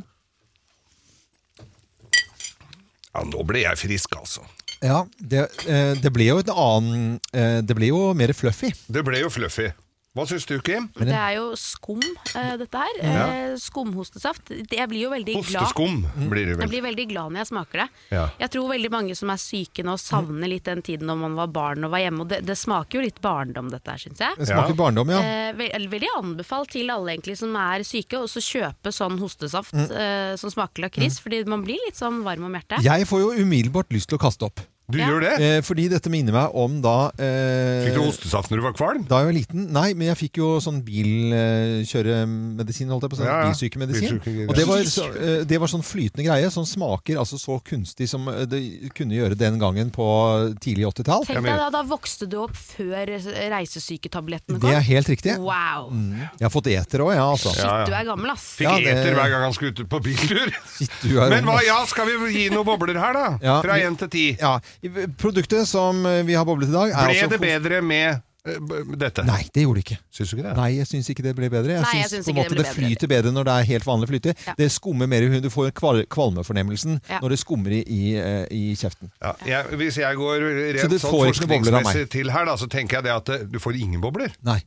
Ja, nå ble jeg frisk, altså. ja det, eh, det ble jo et annen, eh, det ble jo mer fluffy. Det ble jo fluffy. Hva syns du, Kim? Det er jo skum, eh, dette her. Eh, skumhostesaft. Jeg blir jo veldig glad. Osteskum blir det Jeg vel. blir veldig glad når jeg smaker det. Ja. Jeg tror veldig mange som er syke nå, savner litt den tiden når man var barn og var hjemme. Og det, det smaker jo litt barndom, dette her, syns jeg. Det smaker Ja. barndom, ja. Eh, ve- eller veldig anbefalt til alle egentlig som er syke, å også kjøpe sånn hostesaft Mm. eh, som smaker lakris. Fordi man blir litt sånn varm om hjertet. Jeg får jo umiddelbart lyst til å kaste opp. Du Ja. gjør det? Eh, fordi dette minner meg om da eh, Fikk du ostesaft når du var kvalm? Da jeg var liten Nei, men jeg fikk jo sånn bilkjøremedisin, holdt jeg på å si. Ja, ja. Bilsykemedisin. Bilsykegreier. Og det var, så, eh, det var sånn flytende greie som smaker altså så kunstig som eh, det kunne gjøre den gangen på tidlig 80-tall. Tenk deg da, da vokste du opp før reisesyketablettene kom. Det er helt riktig. Mm, Wow! Jeg har fått eter òg, jeg, altså. Shit, du er gammel, ass. Fikk Ja, det- eter hver gang han skulle ut på biltur. Shit, du er- Men hva, ja, skal vi gi noen bobler her, da? Ja. Fra én til ti. Ja, i- Produktet som eh, vi har boblet i dag, er Ble altså det bedre med eh, b- dette? Nei, det gjorde det ikke. Syns du ikke det? Nei, jeg syns ikke det ble bedre. Jeg Nei, jeg syns syns på en ikke det måte ble det bedre flyter bedre når det er helt vanlig flyte. Ja. Det skummer mer, du får kval kvalmefornemmelsen Ja. når det skummer i, i, eh, i kjeften. Ja, jeg, hvis jeg går Så rent du sånn får ikke noen bobler av meg? forskningsmessig til her, da, så tenker jeg det at eh, du får ingen bobler. Nei.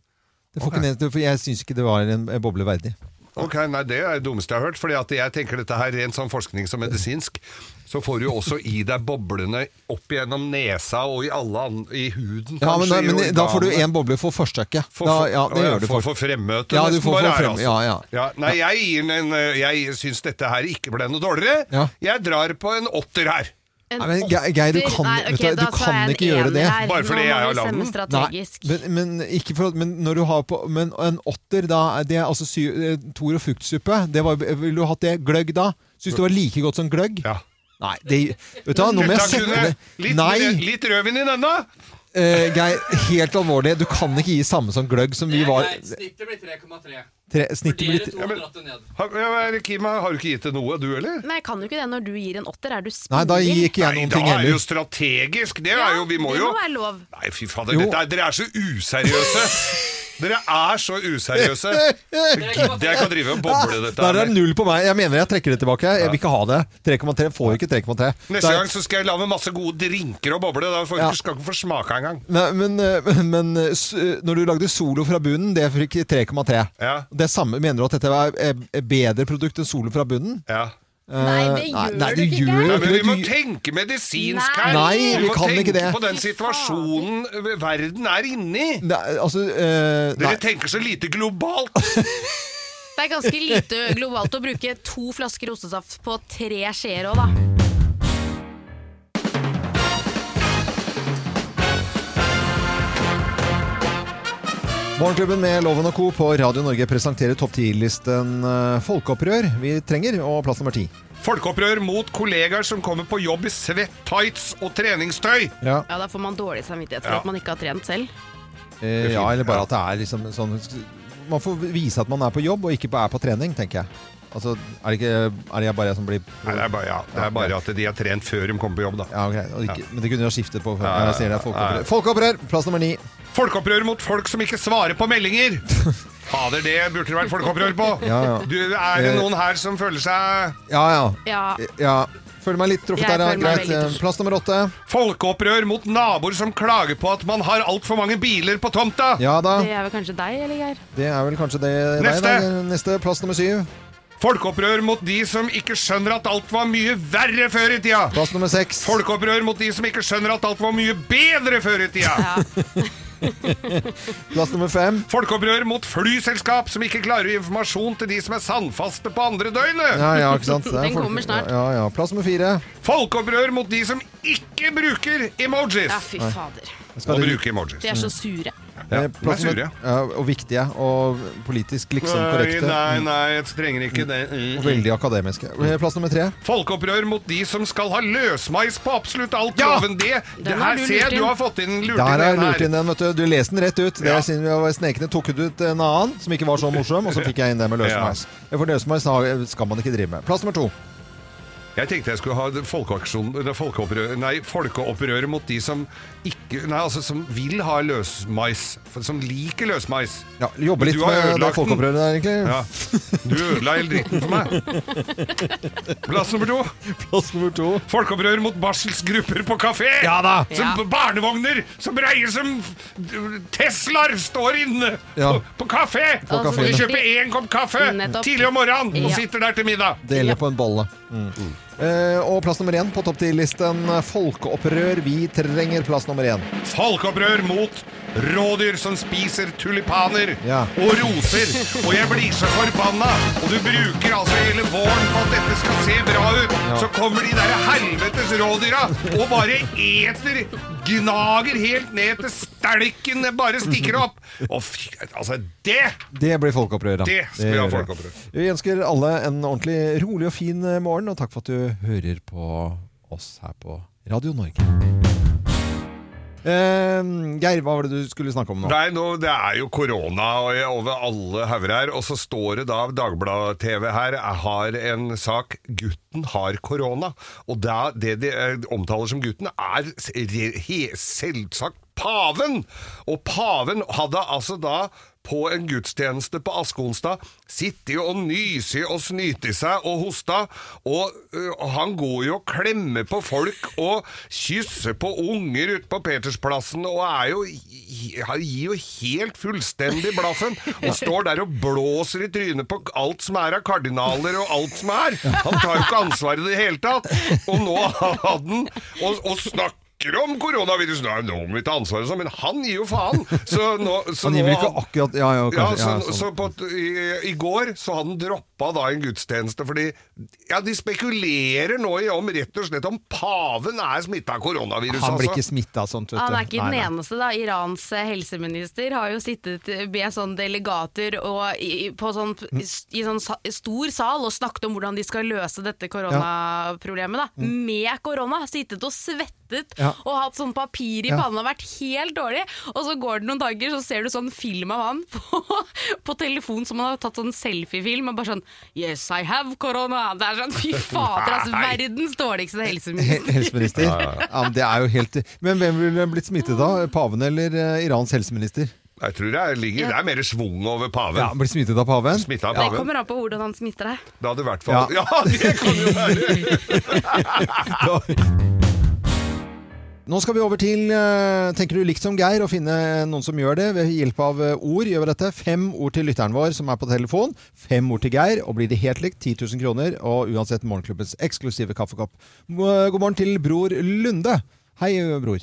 Det får ikke ned, for jeg syns ikke det var en eh, boble verdig. Ok, nei, Det er det dummeste jeg har hørt. Fordi at jeg tenker dette her rent sånn forsknings- og medisinsk. Så får du jo også i deg boblene opp gjennom nesa og i alle an i huden. Ja, men da, kanskje, i men da får du organene. én boble for forsøket. For, Da, for, ja, det gjør du for, for. for fremmøte, Ja, du nesten får bare for her, frem- ja, ja. Nei, jeg, gir den en, eh, jeg syns dette her ikke ble noe dårligere. Ja. jeg drar på en åtter her. En Nei, men Ge- Geir, du åtter- kan, Nei, vet du, ok, hva, da du sa kan jeg en ikke gjøre ener det. her. Bare fordi Nå må jeg har vi lagd stemme den. Nei, strategisk. men, men, ikke for, at- men når du har på Men en åtter, da er Det er altså sy, eh, Tor og fruktsuppe. Det var, ville du hatt det? Gløgg da? Syns du det var like godt som gløgg? Ja. Nei, det, vet du hva, nå må jeg Dette sette kunne- det litt, Nei, litt rødvin i denne! eh, Geir, helt alvorlig. Du kan ikke gi samme som gløgg som vi var Snittet blir 3,3. tre, Snittet blir to har dratt det ned. Har, ja, Kim, har du ikke gitt det noe, du heller? Nei, jeg kan jo ikke det når du gir en åtter. Er du spiller? Nei, da gir ikke jeg Nei, noen da ting er det jo heller. strategisk. Det er jo Vi må det jo må være lov. Nei, fy fader. Jo. Dette er, dere er så useriøse. dere er så useriøse. Det gidder jeg ikke å drive og boble dette Da er det her. med. null på meg. Jeg mener jeg trekker det tilbake. Jeg vil ikke ha det. 3,3 får ikke 3,3. Neste Da- gang så skal jeg lage masse gode drinker og boble. Da får Ja. du skal ikke få smake engang. Nei, men, eh, men eh, s- eh, når du lagde Solo fra bunnen, det fikk 3,3. Ja. Det samme, Mener du at dette var eh, bedre produkt enn Solo fra bunnen? Ja. Nei, det Eh, gjør nei, du det ikke. gjør Nei, jo men vi må det. Du- tenke medisinsk her. Nei, vi må kan tenke ikke det. på den situasjonen verden er inne i. Nei, altså eh, Dere nei. tenker så lite globalt. Det er ganske lite globalt å bruke to flasker ostesaft på tre skjeer òg, da. Morgenklubben med Loven og Co. på Radio Norge presenterer topp 10-listen eh, Folkeopprør vi trenger, og plass nummer ti. Folkeopprør mot kollegaer som kommer på jobb i svett tights og treningstøy. Ja. Ja, Da får man dårlig samvittighet for Ja. at man ikke har trent selv. Eh, ja, eller bare at det er liksom sånn Man får vise at man er på jobb, og ikke bare er på trening, tenker jeg. Altså, er det, ikke, er det jeg bare jeg som blir Nei, det er bare, ja, det er bare at de har trent før de kommer på jobb, da. Ja, ok. Og ikke, Men det kunne jo skiftet på ja, ja. Jeg ser det er folkeopprør. Folkeopprør, plass nummer ni. Folkeopprør mot folk som ikke svarer på meldinger! Fader, det burde det vært folkeopprør på! Ja, Eh. ja. Du, er det noen her som føler seg Ja, ja. Ja, ja. Føler meg litt truffet Jeg der, ja. føler meg Greit. veldig truffet. Plass nummer åtte. Folkeopprør mot naboer som klager på at man har altfor mange biler på tomta! Ja da. Det er vel kanskje deg, eller Geir? Det er vel kanskje det Neste. Nei, da. Neste. Plass nummer syv. Folkeopprør mot de som ikke skjønner at alt var mye verre før i tida. Plass nummer seks. Folkeopprør mot de som ikke skjønner at alt var mye bedre før i tida. Plass nummer fem. Folkeopprør mot flyselskap som ikke klarer å gi informasjon til de som er sandfaste på andre døgnet. Ja, ja, ikke sant? Det er Den kommer snart. Ja, ja. Plass nummer fire. Folkeopprør mot de som ikke bruker Ja, emojis. fy fader. Skal Må det- bruke emojis. De er så sure. Ja, eh, de er Plass nummer, sure. ja, og viktige og politisk liksom Nei, korrekte. nei, nei, jeg trenger ikke det. Mm. Og veldig akademiske. Eh, Plass nummer tre. Folkeopprør mot de som skal ha løsmeis på absolutt alt. Ja! Loven det. det Den har her du ser lurt jeg du inn. har fått inn lurt Der inn har jeg den lurt her. inn den, vet du. Du leste den rett ut. Det Ja. er siden vi var snekende, tok du ut en annen som ikke var så morsom, og så fikk jeg inn det med løsmeis. For løsmeis har- eh, skal man ikke drive med. Plass nummer to. Jeg tenkte jeg skulle ha det folkeaksjon det er folkeopprør, Nei, folkeopprøret mot de som ikke Nei, altså som vil ha løsmais. for- Som liker løsmais. Ja, jobbe litt Du har med det ødelagt den. folkeopprøret der, egentlig. Ja. Du ødela hele dritten for meg. Plass nummer to. Plass nummer to. Folkeopprør mot barselsgrupper på kafé! Ja da. Som Ja. Barnevogner som reier som f- Teslaer står inne Ja. på, på kafé! På Altså, kafé. De kjøper én kopp kaffe Nettopp. tidlig om morgenen og Ja. sitter der til middag. Dele på en bolle. Eh, og plass nummer én på topp 10-listen. Folkeopprør. Vi trenger plass nummer én. Folkeopprør mot rådyr som spiser tulipaner Ja. og roser. Og jeg blir så forbanna! Og du bruker altså hele våren på at dette skal se bra ut. Så kommer de der helvetes rådyra og bare eter, gnager helt ned til stelken bare stikker opp. Og fy, altså det Det blir folkeopprør, da. Det skal vi ha gjør det. folkeopprør. Vi ønsker alle en ordentlig rolig og fin eh, morgen, og takk for at du hører på oss her på Radio Norge. Eh, Geir, hva var det du skulle snakke om nå? Nei, nå, det er jo korona og jeg- over alle hauger her, og så står det da Dagblad-TV her har en sak 'Gutten har korona'. Og da, det de eh, omtaler som gutten, er s- re- he, selvsagt paven! Og paven hadde altså da på en gudstjeneste på Askonstad sitter og nyser og snyter seg og hoster, og ø, han går jo og klemmer på folk og kysser på unger ute på Petersplassen og er jo, i- han gir jo helt fullstendig blaffen og står der og blåser i trynet på alt som er av kardinaler og alt som er. Han tar jo ikke ansvar i det hele tatt. Og nå hadde han og, og snakker om koronavirus, Nei, nå må vi ta ansvaret sånn, men han gir jo faen! Så nå, så Han gir vel nå- ikke akkurat Ja, ja, ja, kanskje. så, Ja, sånn. så på, t- i, I går så hadde han droppa da en gudstjeneste, fordi ja, de spekulerer nå i om rett og slett om paven er smitta av koronaviruset. Han blir ikke altså. smitta sånt, vet du. Han er ikke Nei, den nei. eneste, da. Irans eh, helseminister har jo sittet eh, med sånn delegater og i, i- på sånn, Mm. i sånn sa- stor sal og snakket om hvordan de skal løse dette koronaproblemet, da. Med korona! Sittet og svettet Mm. Ja. og hatt sånn papir i Ja. pannen og vært helt dårlig. Og så går det noen dager, så ser du sånn film av han på, på telefon som han har tatt sånn selfiefilm, og bare sånn Yes, I have corona! Det er sånn, fy fader, altså. Nei. Verdens dårligste helseminister. He- Helseminister? Ja, men det er jo helt Men hvem ville blitt smittet da? Paven eller eh, Irans helseminister? Jeg tror det er, ligger, det er mer svung over paven. Ja, Blir smittet av paven? Smittet av Det paven. kommer an på hvordan han smitter deg. Da hadde i hvert fall Ja. Ja, det kan jo være! Nå skal vi over til eh, Tenker du likt som Geir og finne noen som gjør det ved hjelp av eh, ord. gjør vi dette. Fem ord til lytteren vår som er på telefon. Fem ord til Geir, og blir det helt likt, 10 000 kroner. Og uansett Morgenklubbens eksklusive kaffekopp. M- eh, God morgen til Bror Lunde. Hei, bror.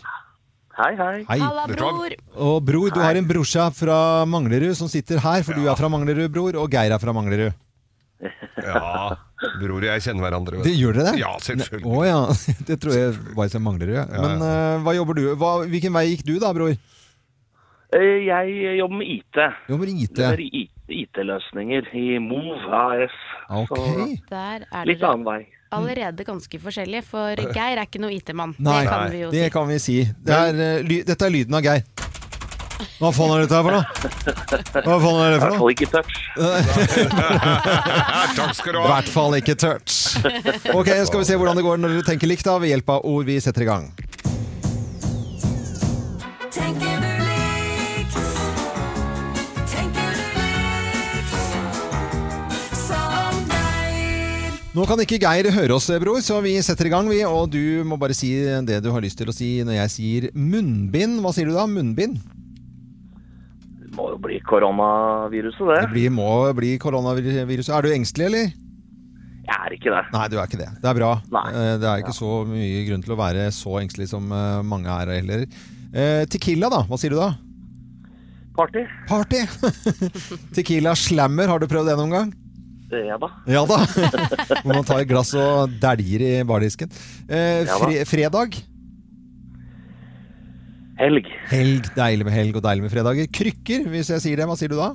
Hei, hei. Hei. Halla, Vet du hva? bror! Og bror, du har en brorsa fra Manglerud som sitter her, for du er fra Manglerud, bror, og Geir er fra Manglerud. Ja, bror og jeg kjenner hverandre. vet Det, gjør dere det? Ja, selvfølgelig. Å ja. Det tror jeg var som Manglerud. Ja. Men eh, hva jobber du hva, Hvilken vei gikk du da, bror? Eh, Jeg jobber med IT. Jobber IT. Det er IT-løsninger i Move AS. Ok. Der er Litt dere annen vei. allerede ganske forskjellige, for Geir er ikke noe IT-mann. Det Nei, kan vi jo det si. kan vi si. Det er, eh, ly dette er lyden av Geir. Hva faen er dette her for noe? Hva faen er det for I hvert noe? fall ikke touch. du. Takk skal I du ha. hvert fall ikke touch. Ok, Skal vi se hvordan det går når dere tenker likt, da, ved hjelp av ord vi setter i gang. Tenker du likt? Tenker du likt? Som deg? Nå kan ikke Geir høre oss, eh, bror, så vi setter i gang, vi. Og du må bare si det du har lyst til å si når jeg sier munnbind. Hva sier du da? Munnbind? Det må jo bli koronaviruset, Det det. blir, må bli koronaviruset. Er du engstelig, eller? Jeg er ikke det. Nei, du er ikke det. Det er bra. Eh, Det er ikke så mye grunn til å være så engstelig som eh, mange er heller. Eh, Tequila, da? Hva sier du da? Party? Party! Tequila slammer, har du prøvd det noen gang? Det er jeg, da. Ja da. Hvor man tar et glass og dæljer i bardisken. Eh, Ja da. fre fredag? Helg. Helg. Deilig med helg og deilig med fredager. Krykker, hvis jeg sier det. Hva sier du da?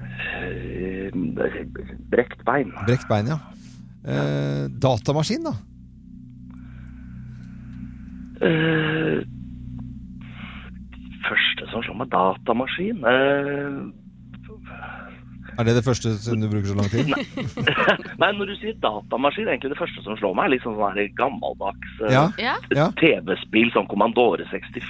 Eh, Brekt bein. Brekt bein, ja. Eh, datamaskin, da? Eh, første som slår meg, datamaskin. Eh, Er det det første siden du bruker så lang tid? nei, når du sier datamaskin, egentlig det første som slår meg, er litt sånn sånn her gammeldags eh, Ja. Ja. Ja. TV-spill som Commandore 64,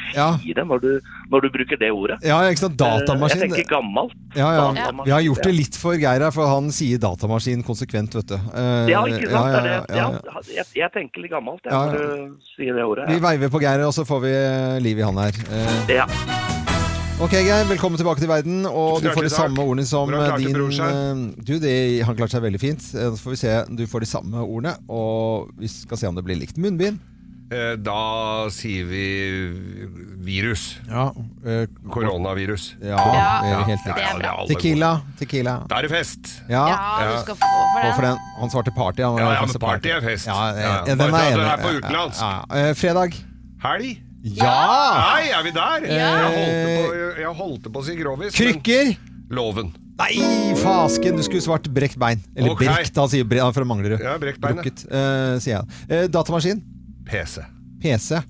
når, du, når du bruker det ordet. Ja, ikke sant? Datamaskin. Eh, Jeg tenker gammelt. Ja, ja. Datamaskin, Vi har gjort det litt for Geir her, for han sier datamaskin konsekvent, vet du. Eh, Ja, ikke sant? ja, Det ja, er det. ja, ja. Ja, Jeg, jeg tenker litt gammelt, jeg, Ja, ja. når du sier det ordet. Vi Ja. veiver på Geir, og så får vi eh, liv i han her. Eh, Ja. Ok, Geir, velkommen tilbake til verden. Og du Hjertelig får de takk. samme ordene som Hvordan klarte din bror eh, Du, det, han klarte seg veldig fint. Eh, Så får vi se. Du får de samme ordene, og vi skal se om det blir likt. Munnbind. Eh, Da sier vi virus. Ja, eh, Koronavirus. Ja, Korona. eh, helt Ja, riktig. ja, det er alle Tequila. Tequila. gode. Da er det fest! Ja. Ja, du Ja. skal få for Og den. for den, han svarte party. Han, Ja, ja, han men sa party er fest. Ja, eh, Ja, eh, den bare er at jeg den enig er på i. Ja, utenlandsk. Ja, ja. Eh, Fredag. Helg? Ja! Nei, er vi der? Jeg holdt på, jeg holdt på å si grovis. men- Eh, Krykker. Loven. Nei, fasken! Du skulle svart brekt bein. Eller Ok. brekt, da, sier Bre- han fra Manglerud. Ja, brekt bein, ja. Brukket, eh, sier jeg. Eh, datamaskin. PC. PC.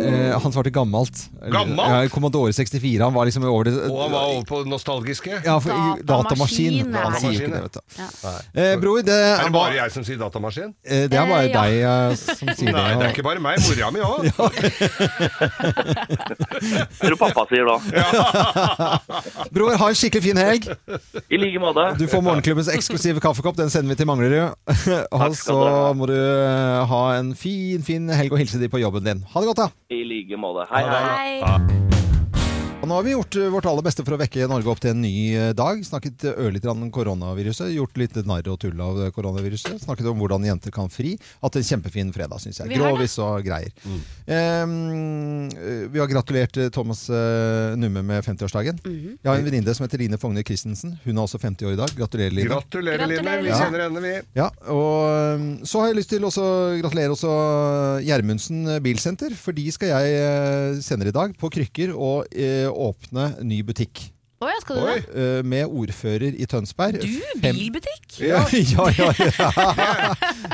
Eh, han svarte gammelt. Eller- Gammalt? Ja, Commodore 64. Han var liksom over det Og han var over på det nostalgiske. ja, for, i- Datamaskin, datamaskin. nei. Han sier jo ikke Datamaskin, det, vet du. Ja. Eh, bror, det Er er det bare jeg som sier datamaskin? eh, Det er bare Eh, ja. deg eh, som sier Nei, det er det. ikke bare meg. Mora mi òg. Hva er det pappa sier da? Bror, ha en skikkelig fin helg. I like måte. Du får morgenklubbens eksklusive kaffekopp. Den sender vi til Manglerud. Og Takk skal du så ha. må du eh, ha en fin, fin helg og hilse de på jobben din. Ha det godt, da. I like måte. Hei, hei. Hei. Og nå har vi gjort eh, vårt aller beste for å vekke Norge opp til en ny eh, dag. Snakket eh, ørlite grann om koronaviruset. Gjort litt narr og tull av eh, koronaviruset. Snakket om hvordan jenter kan fri. Hatt en kjempefin fredag, syns jeg. Vi har Grovis og greier. Mm. Ehm, eh, vi har gratulert eh, Thomas eh, Numme med 50-årsdagen. Mhm. Jeg har en venninne som heter Line Fogne Christensen. Hun er også 50 år i dag. Gratulerer, Line. Gratulerer, Line. Gratulerer, Vi Line. kjenner henne, vi. Ja, og øhm, så har jeg lyst til også å gratulere også uh, Gjermundsen Bilsenter, for de skal jeg øh, senere i dag på krykker og øh, åpne ny butikk. Å ja, skal du det? øh, Med ordfører i Tønsberg. Du, Fem- bilbutikk? Ja, ja, ja, ja.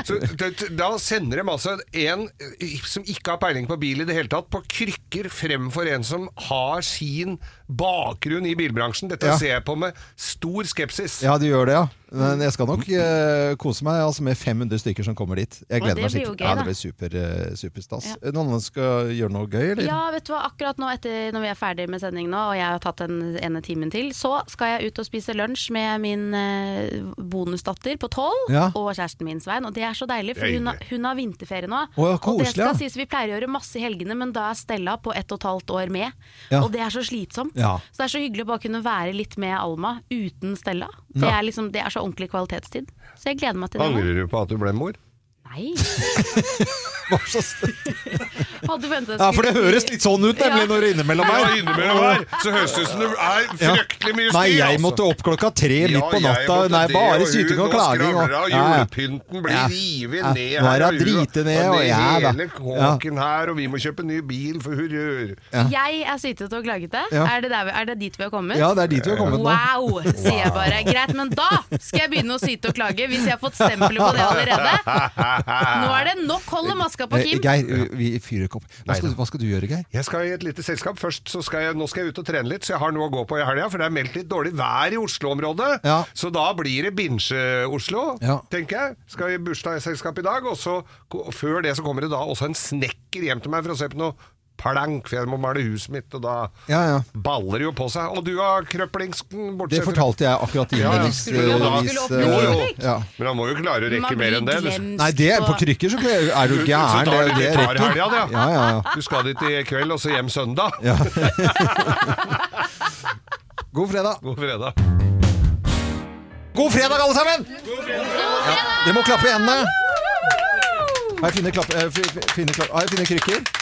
Så, t- t- da sender de altså en eh, som ikke har peiling på bil i det hele tatt, på krykker fremfor en som har sin bakgrunn i bilbransjen. Dette Ja. ser jeg på med stor skepsis. ja du gjør det, ja. Men jeg skal nok øh, kose meg altså, med 500 stykker som kommer dit. Jeg Å, gleder det meg blir jo skikkelig. gøy, Ja, da. det blir super, øh, superstas. Ja. Noen andre skal gjøre noe gøy, eller? Ja, vet du hva, akkurat nå etter når vi er ferdig med sending nå, og jeg har tatt den ene timen til, så skal jeg ut og spise lunsj med min eh, bonusdatter på tolv Ja. og kjæresten min Svein, og det er så deilig, for Det er hun, har- hun har vinterferie nå. Å, ja, og det koselig, ja. skal sies, vi pleier å gjøre masse i helgene, men da er Stella på ett og et halvt år med, Ja. og det er så slitsomt. Ja. Så det er så hyggelig å bare kunne være litt med Alma uten Stella. Det er, liksom, det er så ordentlig kvalitetstid. Så jeg gleder meg til det. nå. Angrer du på at du ble mor? Nei, Vær så snill. hadde ventet Ja, for det høres litt sånn ut nemlig Ja. når det er innimellom Ja, her. innimellom her så høres det ut som det er Ja. fryktelig mye styr. Nei, jeg altså. måtte opp klokka tre Ja, midt på jeg natta. måtte Nei, det, bare og syting hun, og nå klaging. Og, skravler hun, Ja, ja. Julepynten blir Ja. revet Ja, ned nå er her. hun drite ned, og ja da. hele kåken her, og vi må kjøpe ny bil for hurrur. Jeg er sytete og klagete. Ja. Er, det der, vi- er det dit vi har kommet? Ja, det er dit vi har kommet nå. Wow, sier jeg bare. Greit, men da skal jeg begynne å syte og klage, hvis jeg har fått stempelet på det allerede. Nå er det nok hold og maska på Eh, Kim. Geir, vi fyrer ikke opp. Hva skal, hva skal du gjøre, Geir? Jeg skal i et lite selskap. Først så skal jeg, nå skal jeg ut og trene litt, så jeg har noe å gå på i helga. For det er meldt litt dårlig vær i Oslo-området. Ja. Så da blir det Binge-Oslo, Ja. tenker jeg. Skal i bursdagsselskap i dag. Og så ko- før det så kommer det da også en snekker hjem til meg for å se på noe plank, for jeg må male huset mitt, og da Ja, ja. baller det jo på seg. Og du har krøplingsken, Det bortsett fortalte jeg akkurat Ja, ja. innledningsvis. Skulle du da- eh, skulle du åpne eh, butikk? ja. Men han må jo klare å rekke mer enn det. Du, Nei, det er på krykker så ble- er du du, så gæren. tar Det, det du tar rekker. helga, det. Ja, ja, ja. Du skal dit i kveld, og så hjem søndag. God fredag. God fredag. God fredag, alle sammen! Ja, dere må klappe i hendene. Har jeg fine, klapp, eh, fi- fi- fine, klapp, har jeg fine krykker?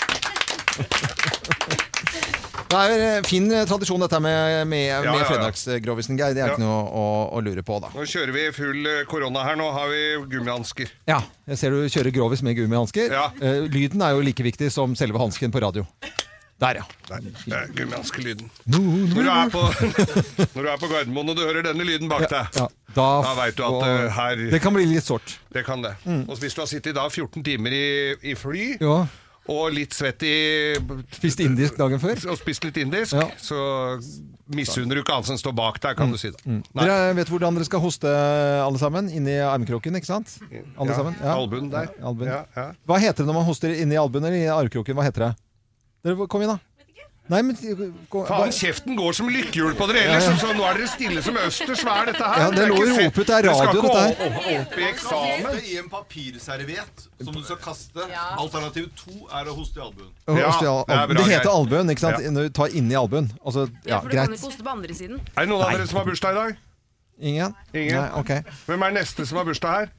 Det er jo en eh, fin tradisjon dette med, med, ja, med ja. fredagsgrovisen, Geir. Det er Ja. ikke noe å, å lure på, da. Nå kjører vi full eh, korona her. Nå har vi gummihansker. Ja, jeg ser du kjører grovis med gummihansker. Eh, lyden er jo like viktig som selve hansken på radio. Der, ja. Der, der, Eh, Gummihanskelyden. Når du, er på, når du er på Gardermoen og du hører denne lyden bak deg, Ja, da, da- veit du og- at eh, her Det kan bli litt sårt. Det kan det. Mm. Og hvis du har sittet da 14 timer i, i fly Ja. og litt svett i Spist indisk dagen før. Og spist litt indisk, Ja. Mm. så misunner du ikke han som står bak der, kan du si. det. Nei. Dere vet hvordan dere skal hoste alle sammen? Inni armkroken, ikke sant? Alle Ja, sammen? albuen der. Ja, albuen. Ja, ja. Hva heter det når man hoster inni albuen eller i armkroken? Hva heter det? Dere, kom inn, da. Nei, men eh, gå- Faen, kjeften går som lykkehjul på dere ellers, Ja, ja. så nå er dere stille som østers. Hva er dette her? Ja, det lå i ikke se- ropet, det er radio, skal ikke dette o- o- opp i eksamen. I en papirserviett som du skal kaste. Alternativ to er å hoste i albuen. Å, hoste i al- det er bra, det heter Geir. albuen, ikke sant? Ja. Når du tar inni albuen. Altså, Ja, ja, for du kan jo greit. ikke hoste på andre siden. Er det noen av dere som har bursdag i dag? Ingen? Ingen? Nei, ok. Hvem er neste som har bursdag her?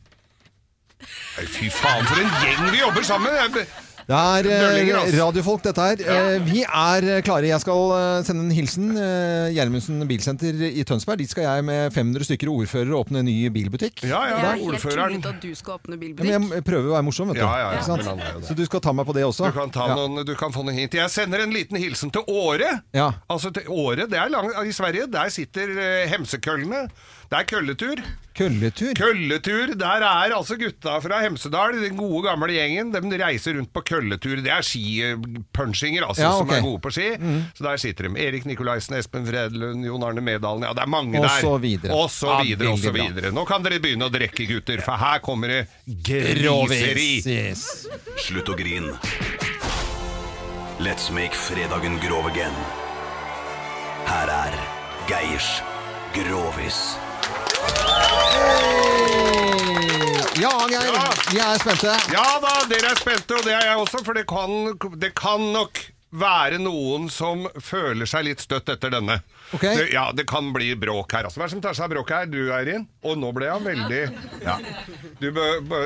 Nei, fy faen, for en gjeng vi jobber sammen! Jeg ble- Det er Dørlinger, eh, altså. radiofolk, dette her. Eh, Vi er eh, klare. Jeg skal eh, sende en hilsen. Eh, Gjermundsen bilsenter i Tønsberg. Dit skal jeg med 500 stykker ordførere åpne en ny bilbutikk. det er helt tullete at du skal Ja, åpne men bilbutikk. jeg prøver å være morsom, vet du. Ja, ja, ja. Ikke sant? Men han er jo det. Så du skal ta meg på det også? Du kan, ta ja. noen, du kan få noen hint. Jeg sender en liten hilsen til Åre. Ja. Altså til Åre, det er lang, I Sverige der sitter eh, hemsekøllene. Det er kølletur. Kølletur? Kølletur. Der er altså gutta fra Hemsedal, den gode gamle gjengen. De reiser rundt på kølletur. Det er skipunchinger altså, Ja, ok. Mm. som er gode på ski. Så der sitter de. Erik Nikolaisen, Espen Fredlund, Jon Arne Medalen. Ja, det er mange Og der. så videre. Og så Ja, videre, og så veldig bra. videre. Nå kan dere begynne å drikke, gutter, for her kommer det griseri. Grovis, yes. Slutt å grin. Let's make fredagen grov again. Her er Geirs Grovis. Ja, Geir. Vi er spente. Ja da, dere er spente, og det er jeg også, for det kan, det kan nok være noen som føler seg litt støtt etter denne. Det, ja, det kan bli bråk her. Altså, hva er det som tar seg av bråket her? Du, Eirin? Og nå ble jeg veldig Ja. Du bø... bø-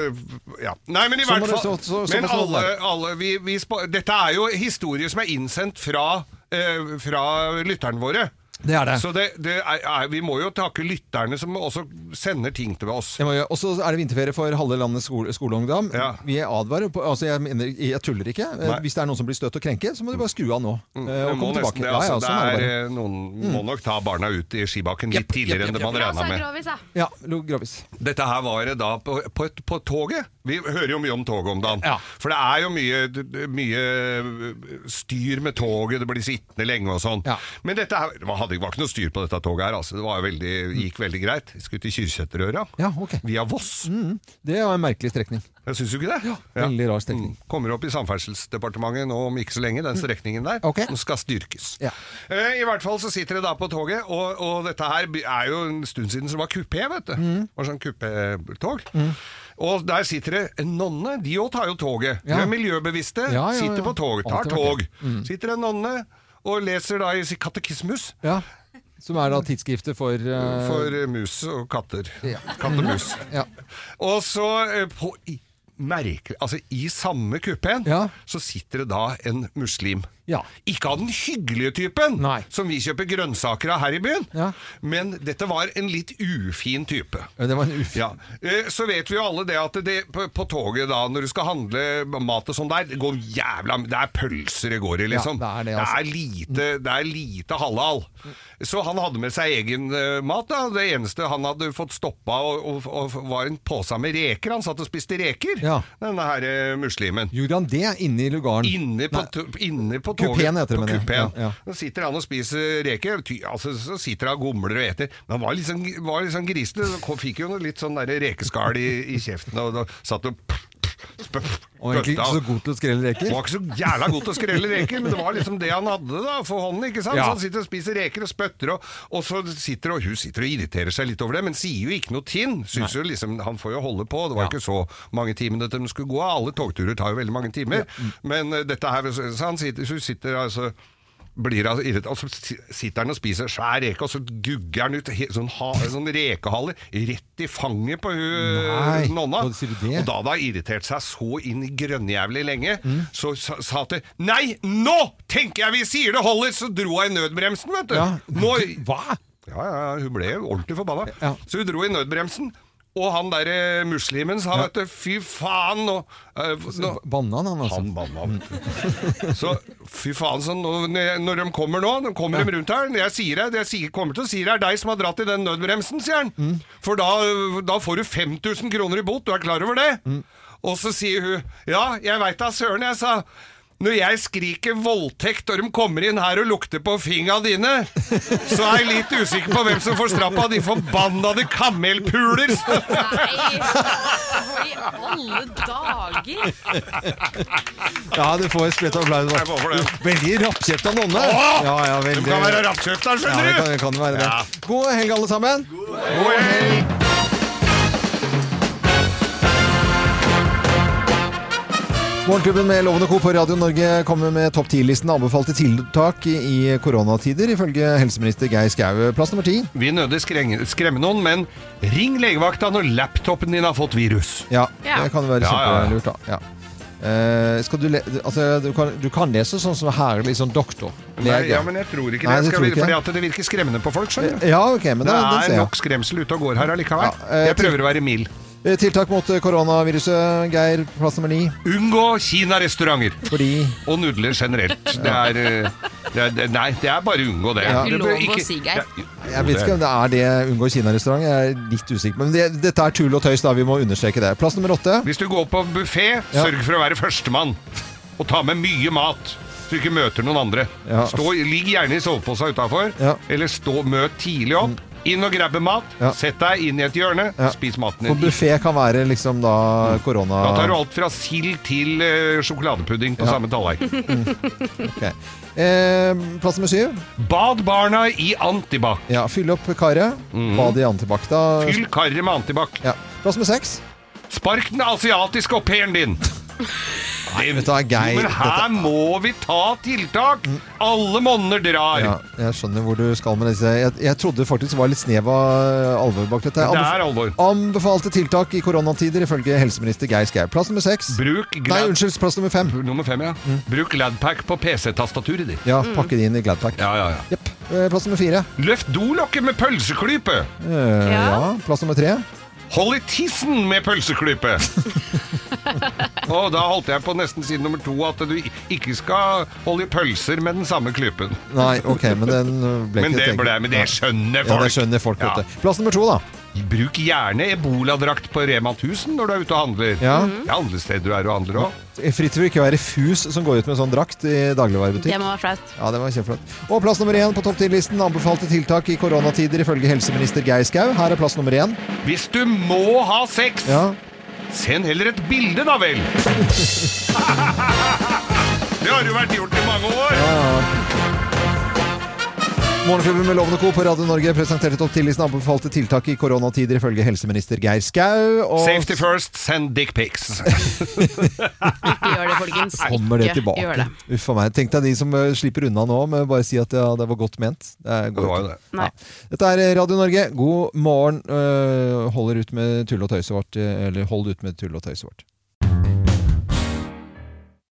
ja. Nei, men i Så Sånn må det- hvert fall så- så- så må Men det alle, være. alle vi, vi spa- Dette er jo historier som er innsendt fra, eh, fra lytterne våre. Det er det. Så det, det er, er, vi må jo takke lytterne som også sender ting til oss. Det må jeg gjøre. Og så er det vinterferie for halve landets skole, skoleungdom. Vi advarer på Altså, jeg, mener, jeg tuller ikke. Eh, Nei. Hvis det er noen som blir støtt og krenket, så må du bare skru av nå. eh, Det Og komme Mm. må nesten tilbake. det, Ja, ja, altså. sånn er det bare. det Mm. er, eh, noen må nok ta barna ut i skibakken litt tidligere enn det man La oss regna ha med. grovis, da. Ja, lo- grovis. Dette her var det da på, på, et, på toget. Vi hører jo mye om toget om dagen. For det er jo mye, d- mye styr med toget, det blir sittende lenge og sånn. Men dette her, det var, hadde, var ikke noe styr på dette toget her, altså. Det var veldig, gikk veldig greit. Jeg skulle til Kyrkjeterøra. Via Voss. Mm, det var en merkelig strekning. Jeg syns jo ikke det. veldig rar strekning. Mm. Mm. Kommer opp i Samferdselsdepartementet nå om ikke så lenge, den strekningen der. Den skal styrkes. Eh, I hvert fall så sitter det da på toget, og, og dette her by- er jo en stund siden så det var kupé, vet du. Mm. Det var sånn kupétog. Og der sitter det en nonne. De òg tar jo toget. De Ja. er miljøbevisste, Ja, ja, ja. sitter på tog, tar Alltid vært tog. det. Mm. Sitter en nonne og leser da i sin katekismus Ja. Som er da tidsskriftet for, eh, for eh, mus og katter. Ja. Katt og mus. Ja. Og så eh, på, i, merke, altså, i samme kupeen så sitter det da en muslim. Ikke av den hyggelige typen som vi kjøper grønnsaker av her i byen, men dette var en litt ufin type. Det var en ufin. Ja. Eh, Så vet vi jo alle det at det, på, på toget da, når du skal handle mat og sånn der, det går jævla Det er pølser det går i, Ja, liksom. det er det, altså. er lite, det er lite halal. Så han hadde med seg egen eh, mat, da. Det eneste han hadde fått stoppa, og, og, og var en pose med reker. Han satt og spiste reker, denne her eh, muslimen. Gjorde han det inne i lugaren? Inne på, to- inne på toget. Kupeen heter det, på mener jeg. kupeen. Ja, ja. Så sitter han og spiser reker, ty, altså, så sitter han og gomler og eter. Men han var litt sånn, var litt sånn grisete, så kom- fikk jo noe litt sånn der rekeskall i, i kjeften, og da satt og Og egentlig ikke så god til å skrelle reker? Han var ikke så jævla god til å skrelle reker, men det var liksom det han hadde da, for hånden, ikke sant? Ja. Så han sitter og spiser reker og spøtter, og, og så sitter og, hun sitter og irriterer seg litt over det, men sier jo ikke noe tinn. Synes jo liksom, han får jo holde på, det var ikke så mange timene de skulle mm. gå av. Alle togturer tar jo veldig mange timer, men eh, dette her, så han sitter, hun sitter altså blir han irritert, og så si- sitter han og spiser en svær reke, og så gugger han ut he- sånn, ha, sånn rekehale rett i fanget på Nei, hun nonna. hva sier du det? Og da hadde hun irritert seg så inn i grønnjævlig lenge, så sa sa hun til Nei, nå tenker jeg vi sier det holder! Så dro hun i nødbremsen, vet du. Ja. Nå, Hva? Ja, ja, ja, hun ble ordentlig forbanna. Så hun dro i nødbremsen. Og han der eh, muslimen sa, vet du, fy faen nå, eh, nå Banna han, han altså. Han banna, vet du. så fy faen, så nå, når de kommer nå, de kommer de rundt her, jeg sier det, jeg sier, kommer til å si det, er deg som har dratt i den nødbremsen, sier han. For da, da får du 5000 kroner i bot, du er klar over det? Og så sier hun, ja, jeg veit da søren, jeg sa. Når jeg skriker voldtekt og de kommer inn her og lukter på fingra dine, så er jeg litt usikker på hvem som får strappa, de forbannede kamelpuler! Nei, i alle dager! Ja, du får et splett applaus. Jeg får for det. Veldig rappkjefta nonne. Åh! Ja, ja, De veldig. kan være rappkjefta, ja, skjønner det du! kan, det kan være det. Ja. God helg, alle sammen. God helg! Morgenklubben med Loven og Co. på Radio Norge kommer med topp 10-listen anbefalte tiltak i- i koronatider, ifølge helseminister Geir Skau. Plass nummer ti. Vi nødig skrenge- skremme noen, men ring legevakta når laptopen din har fått virus. Ja, det kan være Ja, ja, ja. kjempelurt, da. Ja. Eh, skal du, le altså, du, kan, du kan lese sånn som her, liksom doktor. Nei, lege. ja, men jeg tror ikke det. Nei, det skal tror vi, jeg ikke. fordi at det virker skremmende på folk, skjønner du. Ja, ok, men det da- den ser er jeg. nok skremsel ute og går her allikevel. eh, jeg prøver å være mild. Eh, Tiltak mot eh, koronaviruset, Geir. Plass nummer ni. Unngå kinarestauranter. Fordi Og nudler generelt. Det er, eh, det er det- Nei, det er bare å unngå det. Ja. Det Ikke bør lov å ikke- si, Geir. Ja, Jeg vet ikke om det er det unngå Kina-restaurant. Jeg er litt usikker. Men det, dette er tull og tøys, da. Vi må understreke det. Plass nummer åtte. Hvis du går på buffé, sørg for å være førstemann. Og ta med mye mat, så du ikke møter noen andre. Ja. Stå, ligg gjerne i soveposa utafor, Ja. eller stå, møt tidlig opp. Inn og grabbe mat, Ja. sett deg inn i et hjørne, Ja. spis maten For din. buffé kan være liksom da Mm. korona... Da tar du alt fra sild til eh, sjokoladepudding på Ja. samme tallerken. Ok. Eh, plass nummer syv. Bad barna i antibac. Ja, fyll opp karet. Bad i antibac. Da Mhm. Fyll karret med antibac. ja. Plass nummer seks. Spark den asiatiske au pairen din! Nei, vet du hva, Geir, Men her dette- må vi ta tiltak! Alle monner drar! Ja, jeg skjønner hvor du skal med disse. Jeg, jeg trodde faktisk det var litt snev av eh, alvor bak dette. Det er alvor. Anbefalte tiltak i koronatider, ifølge helseminister Geir Skau. Plass nummer seks. Bruk Nei, glad... unnskyld. Mm. Plass nummer fem. Nummer fem, ja. Bruk Gladpack på PC-tastaturet ditt. Ja, pakke det inn i Gladpack. Ja, ja, ja. Jepp. Eh, Plass nummer fire. Løft dolokket med pølseklype! Eh, ja. Plass nummer tre. Hold i tissen med pølseklype! Og da holdt jeg på nesten siden nummer to at du ikke skal holde i pølser med den samme klypen. Nei, ok, men den eh, ble Men ikke det, tenkt. ble, men det skjønner Ja, folk! det skjønner folk, Ja. vet du. Plass nummer to, da. Bruk gjerne eboladrakt på Rema 1000 når du er ute og handler. Ja. Det er andre steder du er og handler òg. Fritt for ikke å være fus som går ut med sånn drakt i Det dagligvarebutikk. må være flaut. Ja, det var kjempeflott. Og plass nummer én på topp 10-listen. Anbefalte tiltak i koronatider ifølge helseminister Geir Skau. Her er plass nummer én. Hvis du må ha sex, Ja. send heller et bilde, da vel! Det har jo vært gjort i mange år! Morgenklubben med Lovende Co. på Radio Norge presenterte topp 10-listen. Anbefalte tiltak i koronatider ifølge helseminister Geir Skau. Og Safety first, send dickpics. Ikke gjør det, folkens. kommer det Ikke tilbake. Gjør det. Uff a meg. Tenk deg de som eh, slipper unna nå med å bare si at ja, det var godt ment. Det går Det ikke. var jo det. Nei. Dette er Radio Norge. eh, God morgen. Øh, holder eh, ut med tull og tøyset vårt. eh, Eller hold ut med tull og tøyset vårt.